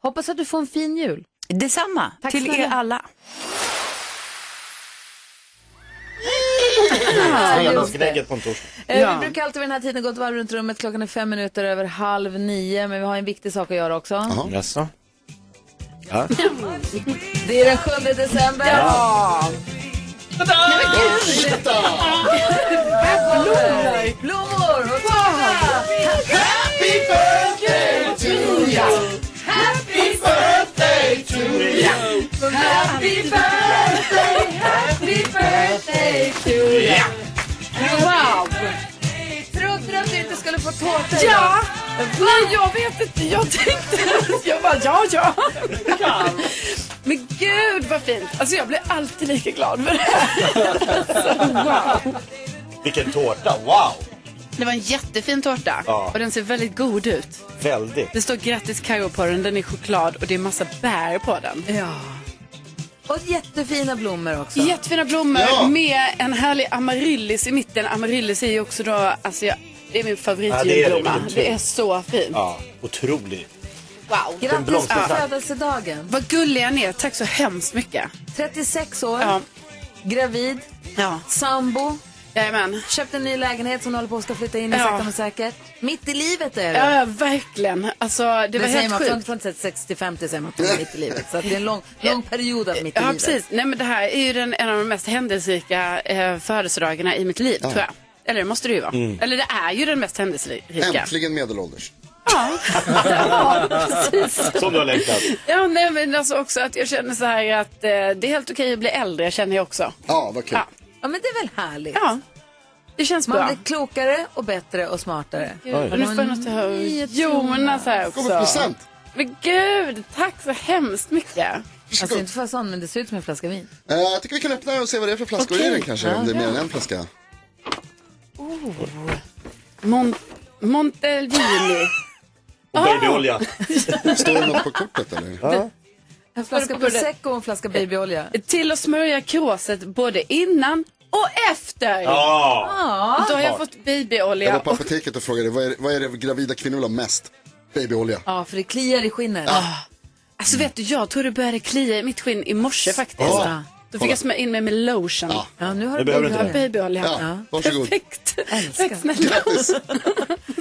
Speaker 3: Hoppas att du får en fin jul.
Speaker 14: Detsamma
Speaker 3: Tack
Speaker 14: till
Speaker 3: snälla.
Speaker 14: er alla.
Speaker 3: just det.
Speaker 4: Fredagsgnägget på en torsdag.
Speaker 3: Eh,
Speaker 4: Ja.
Speaker 3: Vi brukar alltid vid den här tiden gå ett varv runt rummet. Klockan är fem minuter över halv nio, men vi har en viktig sak att göra också.
Speaker 4: Jaså? Ja.
Speaker 3: Det är den 7 december.
Speaker 4: Ja.
Speaker 3: Blommor! Blommor! och tårta!
Speaker 8: Happy birthday to you! Happy birthday to you! Happy birthday, happy birthday to you!
Speaker 3: Wow! Trodde du att du inte skulle få tårta idag?
Speaker 7: Ja! Nej, jag vet inte. Jag tänkte... Jag bara, ja, ja. Men gud vad fint. Alltså jag blir alltid lika glad för det här. Wow.
Speaker 4: Vilken tårta, wow!
Speaker 20: Det var en jättefin tårta
Speaker 4: Ja.
Speaker 20: och den ser väldigt god ut.
Speaker 4: Väldigt.
Speaker 20: Det står grattis Karo på den, den är choklad och det är massa bär på den.
Speaker 3: Ja. Och jättefina blommor också.
Speaker 20: Jättefina blommor
Speaker 3: Ja.
Speaker 20: med en härlig amaryllis i mitten. Amaryllis är ju också då, alltså jag, det är min
Speaker 4: Ja, det är det,
Speaker 20: favoritjulblomma.
Speaker 4: vilken tur.
Speaker 20: det är så fint.
Speaker 4: Ja, otrolig.
Speaker 20: Wow.
Speaker 4: Den
Speaker 20: Grattis på
Speaker 4: blomstrar fram.
Speaker 3: födelsedagen.
Speaker 20: Vad gulliga ni är, tack så hemskt mycket.
Speaker 3: 36 år,
Speaker 20: Ja.
Speaker 3: gravid,
Speaker 20: ja.
Speaker 3: sambo.
Speaker 20: Jajamän.
Speaker 3: Köpt en ny lägenhet som du håller på att ska flytta in i
Speaker 20: Ja.
Speaker 3: sakta men säkert. Mitt i livet är du.
Speaker 20: Ja, ja, verkligen. Alltså, det,
Speaker 3: Det
Speaker 20: var
Speaker 3: säger
Speaker 20: helt
Speaker 3: man
Speaker 20: sjukt.
Speaker 3: från, från 60 till 50 säger man att man är mitt i livet. Så att det är en lång, lång period av mitt i
Speaker 20: Ja,
Speaker 3: livet.
Speaker 20: precis. Nej, men det här är ju den, en av de mest händelserika eh, födelsedagarna i mitt liv,
Speaker 5: Ja.
Speaker 20: tror jag. Eller det måste det ju vara.
Speaker 5: Mm.
Speaker 20: Eller det är ju den mest händelserika.
Speaker 5: Äntligen medelålders.
Speaker 20: Ja, precis.
Speaker 5: Som du har längtat.
Speaker 20: Ja, nej, men alltså också att jag känner så här att eh, det är helt okej att bli äldre, känner jag också.
Speaker 5: Ja, vad kul.
Speaker 20: Ja.
Speaker 3: Ja, men det är väl härligt?
Speaker 20: Ja, det känns
Speaker 3: Man
Speaker 20: bra.
Speaker 3: blir klokare och bättre och smartare.
Speaker 20: Gud, och nu får jag något av Jonas alltså här också.
Speaker 3: Kommer present.
Speaker 20: Men gud, tack så hemskt mycket.
Speaker 3: Alltså inte för sån, men det ser ut som en flaska vin.
Speaker 5: Eh, jag tycker vi kan öppna och se vad det är för flaskor i den kanske. om det är mer än en flaska.
Speaker 20: Mon Montelvini.
Speaker 4: Och babyolja.
Speaker 5: Står det något på kortet eller?
Speaker 4: Ja.
Speaker 3: En flaska prosecco och en flaska babyolja.
Speaker 7: Till att smörja kråset både innan och efter.
Speaker 5: Ja.
Speaker 7: Ja. Då har jag fått
Speaker 5: Jag var
Speaker 7: babyolja.
Speaker 5: på apoteket och frågade vad är, vad är det gravida kvinnor vill ha mest? Babyolja.
Speaker 3: Ja, för det kliar i skinnet.
Speaker 7: Alltså vet du, jag tror det började klia i mitt skinn i morse faktiskt.
Speaker 5: Ja.
Speaker 7: Då fick
Speaker 5: Kolla.
Speaker 7: jag smörja in mig med lotion.
Speaker 5: Ja.
Speaker 3: Ja, nu
Speaker 5: Det
Speaker 7: har du
Speaker 5: behöver
Speaker 7: babyolja.
Speaker 5: inte det.
Speaker 7: babyolja.
Speaker 5: Ja, varsågod.
Speaker 7: Perfekt. Tack snälla.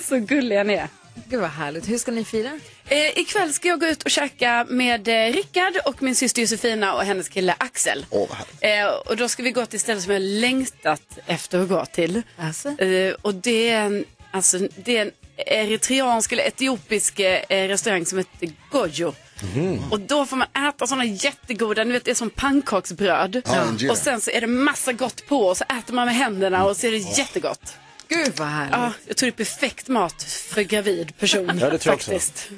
Speaker 7: Så gulliga ni är.
Speaker 3: Gud vad härligt. Hur ska ni fira?
Speaker 7: Eh, ikväll ska jag gå ut och käka med eh, Rickard och min syster Josefina och hennes kille Axel.
Speaker 5: Åh, vad härligt.
Speaker 7: Eh, och då ska vi gå till stället som jag längtat efter att gå till. Eh, och det är en, alltså, det är en eritreansk eller etiopisk eh, restaurang som heter Gojo.
Speaker 3: Mm.
Speaker 7: Och då får man äta sådana jättegoda, ni vet det är som pannkaksbröd.
Speaker 3: Ja, injera.
Speaker 7: och sen så är det massa gott på och så äter man med händerna och så är det jättegott.
Speaker 3: Gud vad härligt.
Speaker 7: Ja, jag tror det är perfekt mat för gravid person.
Speaker 3: Ja, det tror jag också.
Speaker 7: faktiskt.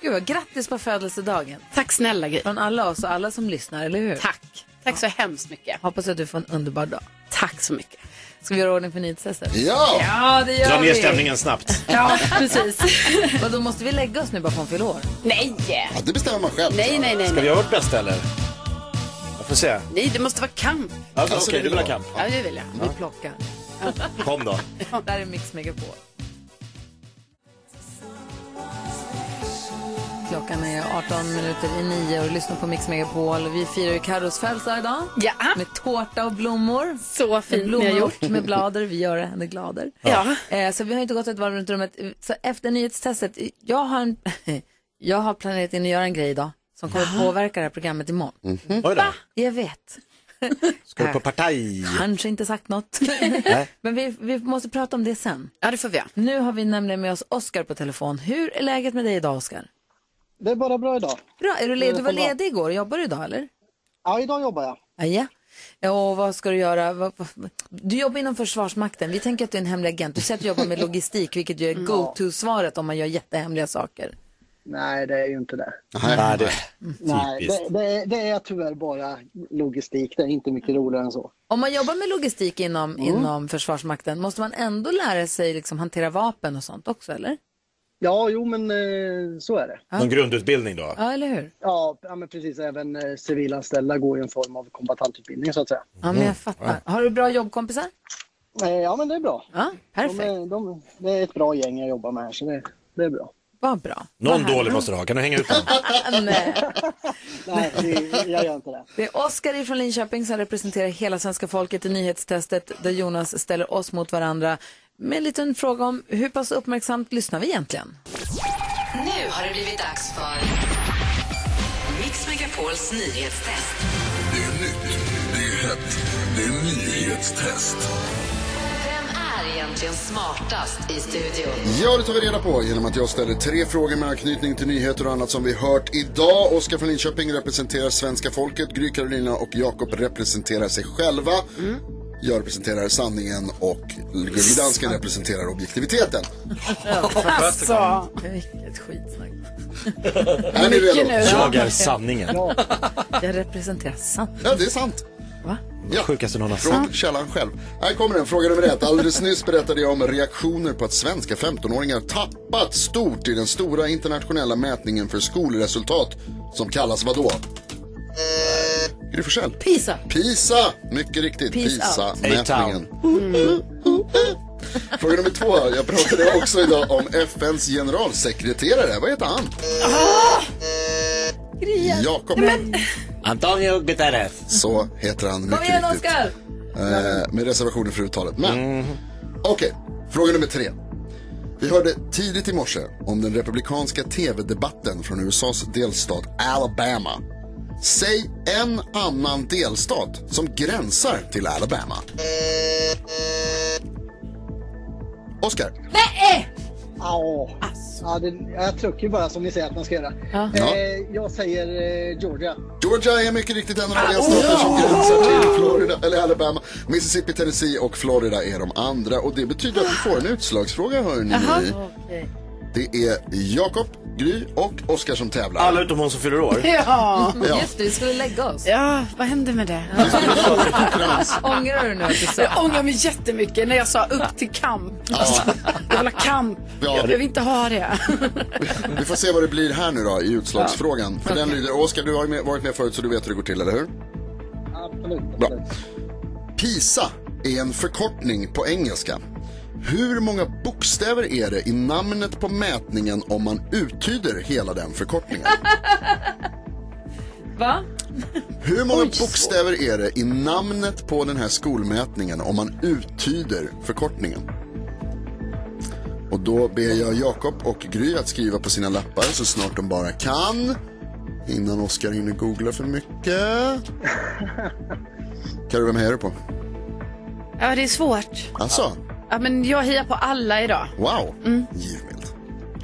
Speaker 3: Gud vad grattis på födelsedagen.
Speaker 7: Tack snälla Gry.
Speaker 3: Från alla oss och alla som lyssnar, eller hur?
Speaker 7: Tack. Tack så hemskt mycket.
Speaker 3: Hoppas att du får en underbar dag.
Speaker 7: Tack så mycket.
Speaker 3: Ska vi göra ordning för nyhetstestet?
Speaker 5: Ja!
Speaker 3: Ja,
Speaker 7: Ah.
Speaker 3: det gör
Speaker 4: Dra
Speaker 3: vi.
Speaker 4: ner stämningen snabbt.
Speaker 7: Ja, precis.
Speaker 3: och då måste vi lägga oss nu bara för hon fyller år?
Speaker 7: Nej!
Speaker 5: Ja, det bestämmer man själv.
Speaker 7: Nej, nej, nej.
Speaker 4: Ska vi
Speaker 7: nej.
Speaker 4: göra vårt bästa eller? Jag får se.
Speaker 7: Nej, det måste vara kamp.
Speaker 4: Alltså, Okej, du vill ha kamp?
Speaker 7: Ja, det vill jag.
Speaker 3: Vi plockar.
Speaker 4: Kom då.
Speaker 3: Där är Mix Megapol. Klockan är 18 minuter i nio och lyssnar på Mix Megapol. Vi firar ju Carros födelsedag idag.
Speaker 7: Ja.
Speaker 3: Med tårta och blommor.
Speaker 7: Så fint
Speaker 3: med
Speaker 7: ni har
Speaker 3: blommor,
Speaker 7: gjort.
Speaker 3: Med blader, vi gör henne glader.
Speaker 7: Ja.
Speaker 3: Eh, så vi har inte gått ett varv runt rummet. Så efter nyhetstestet, jag har, en, jag har planerat in att göra en grej idag som kommer att påverka det här programmet imorgon.
Speaker 4: Oj då.
Speaker 3: Jag vet.
Speaker 4: Ska du på partaj?
Speaker 3: Kanske inte sagt något.
Speaker 4: Nej.
Speaker 3: Men vi, vi måste prata om det sen.
Speaker 7: Ja, det får vi.
Speaker 3: Nu har vi nämligen med oss Oskar på telefon. Hur är läget med dig idag, Oskar?
Speaker 22: Det är bara bra idag.
Speaker 3: Bra. Är du, led, du var
Speaker 22: Jag får bra.
Speaker 3: ledig igår. Jobbar du idag, eller?
Speaker 22: Ja, idag jobbar jag.
Speaker 3: Ah, Ja. Och vad ska du göra? Vad- vad- Du jobbar inom Försvarsmakten. Vi tänker att du är en hemlig agent. Du säger att du jobbar med logistik, vilket ju är go-to-svaret om man gör jättehemliga saker.
Speaker 22: Nej, det är ju inte det.
Speaker 4: Nej, det...
Speaker 22: Nej,
Speaker 4: Typiskt.
Speaker 22: det, det, är- det är tyvärr bara logistik. Det är inte mycket roligare än så.
Speaker 3: Om man jobbar med logistik inom, inom Försvarsmakten, måste man ändå lära sig liksom, hantera vapen och sånt också, eller?
Speaker 22: Ja, jo, men eh, så är det.
Speaker 4: Någon grundutbildning då?
Speaker 3: Ja, eller hur?
Speaker 22: Ja, ja men precis. Även eh, civilanställda går ju en form av kombatantutbildning så att säga.
Speaker 3: Ja, men jag fattar. Har du bra jobbkompisar?
Speaker 22: Eh, ja, men det är bra.
Speaker 3: Ja, perfekt.
Speaker 22: De, är- de, det är ett bra gäng jag jobbar med här, så det, det är bra.
Speaker 3: Vad bra.
Speaker 4: Någon dålig måste du ha. Kan du hänga ut den?
Speaker 3: Nej.
Speaker 22: Nej, det, jag gör inte det.
Speaker 3: Det är Oskar från Linköping som representerar hela svenska folket i nyhetstestet där Jonas ställer oss mot varandra med en liten fråga om hur pass uppmärksamt lyssnar vi egentligen?
Speaker 2: Nu har det blivit dags för Mix Megapols nyhetstest.
Speaker 15: Det är nytt, det är hett, det är nyhetstest.
Speaker 2: Vem är egentligen smartast i studion?
Speaker 5: Ja, det tar vi reda på genom att jag ställer tre frågor med anknytning till nyheter och annat som vi hört idag. Oskar från Linköping representerar svenska folket, Gry Karolina och Jakob representerar sig själva.
Speaker 7: Mm.
Speaker 5: Jag representerar sanningen och Gullig Dansken representerar objektiviteten.
Speaker 7: Alltså.
Speaker 3: Vilket skitsnack.
Speaker 5: Är ni redo?
Speaker 4: Jag är sanningen.
Speaker 3: Jag representerar sant.
Speaker 5: Ja, det är sant. Ja.
Speaker 4: Sjukaste någon har sagt.
Speaker 5: Från källan själv. Här kommer den, fråga nummer ett. Alldeles nyss berättade jag om reaktioner på att svenska 15-åringar tappat stort i den stora internationella mätningen för skolresultat som kallas vadå? Gry Forssell.
Speaker 3: Pisa.
Speaker 5: PISA! Mycket riktigt,
Speaker 3: Peace out.
Speaker 5: PISA-mätningen.
Speaker 4: A-town.
Speaker 5: Fråga nummer två. Jag pratade också idag om FNs generalsekreterare. Vad heter han?
Speaker 3: Ah!
Speaker 5: Jakob.
Speaker 4: Antonio Guterres.
Speaker 5: Så heter han mycket
Speaker 3: Kom igen,
Speaker 5: riktigt.
Speaker 3: Oskar!
Speaker 5: Eh, med reservationer för uttalet. Men, okej, fråga nummer tre. Vi hörde tidigt i morse om den republikanska tv-debatten från USAs delstat Alabama. Säg en annan delstat som gränsar till Alabama. Oscar.
Speaker 3: Nej!
Speaker 22: Ja, ja, det, jag trycker ju bara som ni säger att man ska göra.
Speaker 5: Ja.
Speaker 22: Eh, jag säger eh, Georgia.
Speaker 5: Georgia är mycket riktigt en av de delstater som gränsar till Florida, eller Alabama. Mississippi, Tennessee och Florida är de andra. Och det betyder att vi får en utslagsfråga, hörni.
Speaker 3: Okej.
Speaker 5: Det är Jakob Gry och Oskar som tävlar.
Speaker 4: Alla utom hon som fyller år.
Speaker 23: Ja,
Speaker 5: Ja.
Speaker 23: just det, vi skulle lägga oss.
Speaker 7: Ja, vad hände med det?
Speaker 23: Ångrar du nu att du sa? Jag ångrar mig jättemycket när jag sa upp till kamp. Alltså, Jävla kamp.
Speaker 5: Ja,
Speaker 23: jag
Speaker 5: det-
Speaker 23: vill inte ha det.
Speaker 5: Vi får se vad det blir här nu då i utslagsfrågan. För den lyder, Oskar du har ju med, varit med förut så du vet hur det går till, eller hur?
Speaker 22: Absolut.
Speaker 5: Bra. PISA är en förkortning på engelska. Hur många bokstäver är det i namnet på mätningen om man uttyder hela den förkortningen?
Speaker 7: Va?
Speaker 5: Hur många bokstäver är det i namnet på den här skolmätningen om man uttyder förkortningen? Och då ber jag Jakob och Gry att skriva på sina lappar så snart de bara kan. Innan Oskar hinner googla för mycket. Carro, vem hejar du på?
Speaker 7: Ja, det är svårt.
Speaker 5: Alltså,
Speaker 7: Ja, men jag hejar på alla idag.
Speaker 5: wow.
Speaker 7: Mm.
Speaker 5: Givmild.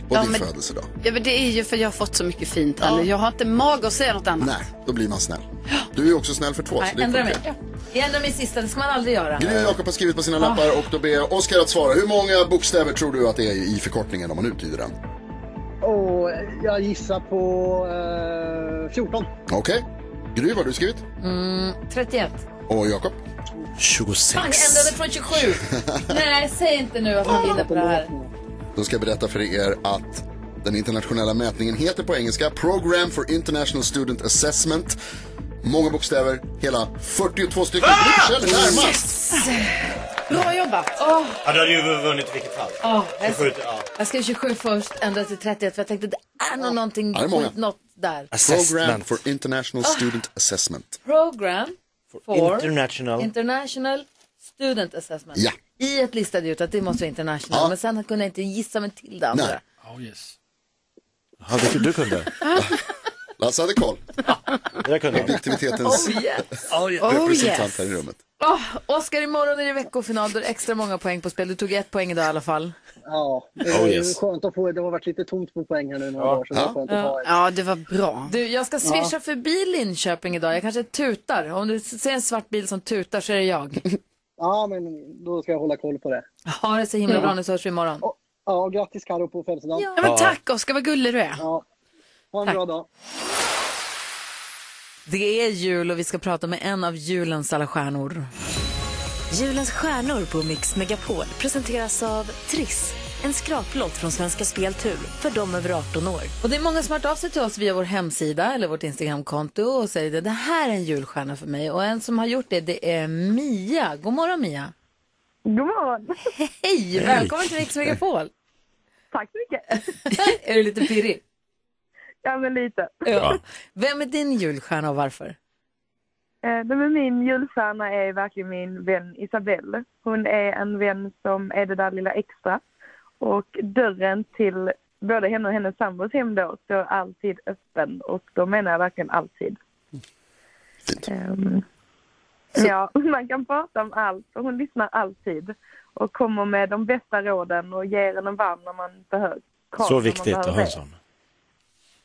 Speaker 5: Och
Speaker 7: Ja,
Speaker 5: din
Speaker 7: men-
Speaker 5: födelsedag.
Speaker 7: Ja, men det är ju för jag har fått så mycket fint här nu. Jag har inte mag att säga något annat.
Speaker 5: Nej, då blir man snäll. Du är också snäll för två. så det
Speaker 3: Ändra mig.
Speaker 5: funkar.
Speaker 3: Jag ändrar mig sista, det ska man aldrig göra.
Speaker 5: Gry och Jakob har skrivit på sina lappar och då ber jag Oskar att svara. Hur många bokstäver tror du att det är i förkortningen om man uttyder den?
Speaker 22: Och jag gissar på eh, 14.
Speaker 5: Okej. Gry, vad har du skrivit?
Speaker 3: Mm, 31.
Speaker 5: Och Jakob?
Speaker 3: Fan,
Speaker 5: 26.
Speaker 3: jag ändrade från 27. Nej, säg inte nu att man gillar på det här.
Speaker 5: Då ska jag berätta för er att den internationella mätningen heter på engelska Program for International Student Assessment. Många bokstäver, hela 42 stycken. Gry Kjell är närmast.
Speaker 7: Bra jobbat!
Speaker 3: Åh,
Speaker 4: Ja, du hade ju vunnit i vilket fall.
Speaker 3: åh, jag,
Speaker 4: Tjugosju, ja.
Speaker 3: jag skrev 27 först, ändrade till 31 för jag tänkte det är nog någonting
Speaker 5: Ja, det är många.
Speaker 3: skit, något där.
Speaker 5: Program for International Student Assessment.
Speaker 3: Program for
Speaker 5: International.
Speaker 3: International Student Assessment.
Speaker 5: Ja.
Speaker 3: I ett listade ut att det måste vara international, men sen kunde jag inte gissa mig till det andra.
Speaker 5: Nej.
Speaker 6: Oh, yes.
Speaker 4: Ja, det du kunde.
Speaker 5: Lasse hade koll.
Speaker 4: Det där kunde jag.
Speaker 5: Objektivitetens
Speaker 3: Oh, yes.
Speaker 5: oh,
Speaker 3: yes.
Speaker 5: representant
Speaker 3: Oh, yes.
Speaker 5: här i rummet.
Speaker 3: Oh, Oskar, imorgon är det veckofinal, då är det extra många poäng på spel. Du tog ett poäng idag i alla fall.
Speaker 22: Ja, det
Speaker 5: Oh,
Speaker 22: är
Speaker 5: yes.
Speaker 22: skönt att få. Det har varit lite tomt på poäng här nu några dagar. Så det är skönt att ha ett.
Speaker 7: Ja, det var bra.
Speaker 3: Du, jag ska swisha
Speaker 22: Ja.
Speaker 3: förbi Linköping idag. Jag kanske tutar. Om du ser en svart bil som tutar så är det jag.
Speaker 22: Ja, men då ska jag hålla koll på det.
Speaker 3: Ha det så himla bra nu så hörs vi imorgon.
Speaker 22: Ja, och grattis Karo på födelsedagen.
Speaker 7: Ja, men tack Oskar, vad gullig du är.
Speaker 22: Ja. Ha en bra dag.
Speaker 3: Det är jul och vi ska prata med en av julens alla stjärnor.
Speaker 21: Julens stjärnor på Mix Megapol presenteras av Triss. En skraplott från Svenska Speltur för de över 18 år.
Speaker 3: Och det är många som har hört av sig till oss via vår hemsida eller vårt Instagramkonto och säger att det här är en julstjärna för mig. Och en som har gjort det, det är Mia. God morgon Mia.
Speaker 18: God morgon.
Speaker 3: Hej, välkommen till Mix Megapol.
Speaker 18: Tack så mycket.
Speaker 3: är du lite pirrig?
Speaker 18: Ja, men lite.
Speaker 3: Ja. Vem är din julstjärna och varför?
Speaker 18: Eh, nej, men min julstjärna är verkligen min vän Isabelle. Hon är en vän som är det där lilla extra. Och dörren till både henne och hennes sambos hem då står alltid öppen. Och då menar jag verkligen alltid. Ehm, Ja, man kan prata om allt och hon lyssnar alltid. Och kommer med de bästa råden och ger en en varm när man behöver. kram när
Speaker 4: Så
Speaker 18: man
Speaker 4: viktigt att ha
Speaker 18: behöver
Speaker 4: en
Speaker 18: det.
Speaker 4: sån.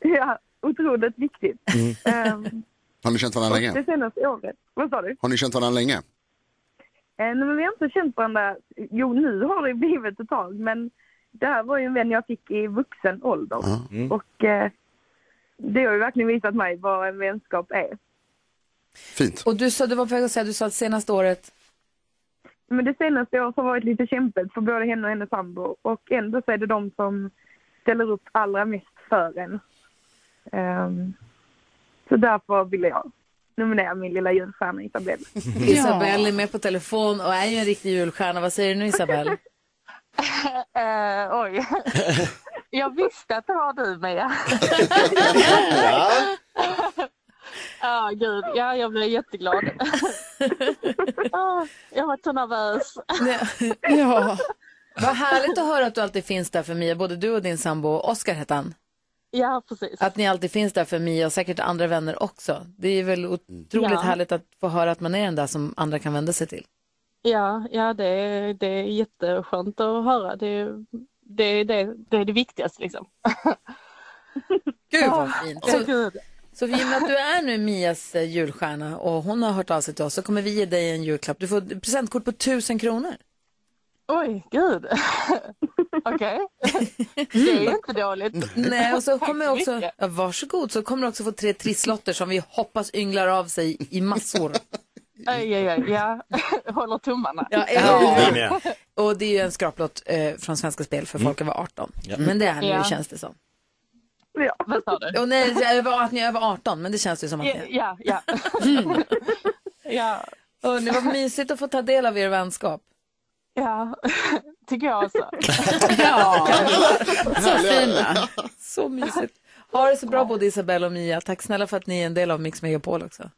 Speaker 18: Ja, otroligt viktigt. Ehm,
Speaker 5: Har ni känt varandra
Speaker 18: och det
Speaker 5: länge?
Speaker 18: senaste året. Vad sa du?
Speaker 5: Har ni känt varandra länge?
Speaker 18: Eh, nej, men vi har inte känt varandra. Jo, nu har det blivit ett tag, men det här var ju en vän jag fick i vuxen ålder. Och eh, det har ju verkligen visat mig vad en vänskap är.
Speaker 3: Och du sa, du var på väg att säga, du sa att senaste året,
Speaker 18: Men det senaste året har varit lite kämpigt för både henne och hennes sambo. Och ändå så är det de som ställer upp allra mest för en. Ehm, så därför ville jag nominera min lilla julstjärna Isabelle.
Speaker 3: Isabelle är med på telefon och är ju en riktig julstjärna. Vad säger du nu Isabelle?
Speaker 8: Eh, oj. Jag visste att det var du Mia. Ja, gud. Ja, jag blev jätteglad. Ah, jag var så nervös.
Speaker 3: ja. Vad härligt att höra att du alltid finns där för Mia, både du och din sambo, Oskar hette han.
Speaker 8: Ja, precis.
Speaker 3: Att ni alltid finns där för Mia och säkert andra vänner också. Det är väl otroligt
Speaker 8: Ja.
Speaker 3: härligt att få höra att man är den där som andra kan vända sig till.
Speaker 8: Ja, ja det, är- det är jätteskönt att höra. Det, är- det, är- det, är- det är det viktigaste liksom.
Speaker 3: Gud vad fint.
Speaker 8: Ja,
Speaker 3: Så, så i och med att du är nu Mias eh, julstjärna och hon har hört av sig till oss så kommer vi ge dig en julklapp. Du får ett presentkort på tusen kronor.
Speaker 8: Oj, gud.
Speaker 18: Okej. Det är ju inte dåligt.
Speaker 3: Nej, och så
Speaker 18: Tack
Speaker 3: kommer jag
Speaker 18: så
Speaker 3: också,
Speaker 18: mycket.
Speaker 3: ja, varsågod, så kommer du också få tre trisslotter som vi hoppas ynglar av sig i massor.
Speaker 18: Aj, aj, aj, ja. Håller tummarna.
Speaker 3: Ja, eller
Speaker 18: Ja.
Speaker 3: hur? Och det är ju en skraplott eh, från Svenska Spel för folk över 18. Men det är ni
Speaker 18: Ja.
Speaker 3: känns det som.
Speaker 18: Ja, vad sa du?
Speaker 3: Och nej, det är över, att ni är över 18, men det känns ju som att ni
Speaker 18: Ja,
Speaker 3: är.
Speaker 18: ja. ja. ja.
Speaker 3: Och det var mysigt att få ta del av er vänskap.
Speaker 18: Ja, tycker jag också.
Speaker 3: Så fina. Så mysigt. Ha det så bra både Isabella och Mia. Tack snälla för att ni är en del av Mix Megapol också.
Speaker 18: Tack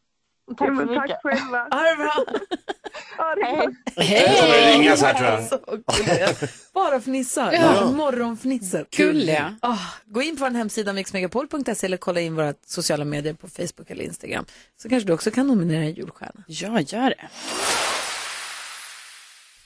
Speaker 24: Ja,
Speaker 18: så
Speaker 24: men
Speaker 18: mycket.
Speaker 24: Tack själva.
Speaker 3: Ha det bra.
Speaker 24: Ja, det är klart.
Speaker 7: Det kommer ringas här tror jag.
Speaker 3: Bara fnissar.
Speaker 7: Ja.
Speaker 3: Morgonfnisset.
Speaker 25: Gulliga.
Speaker 3: Ah, gå in på vår hemsida mixmegapol.se eller kolla in våra sociala medier på Facebook eller Instagram. Så kanske du också kan nominera en julstjärna.
Speaker 25: Ja, gör det.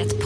Speaker 26: Ett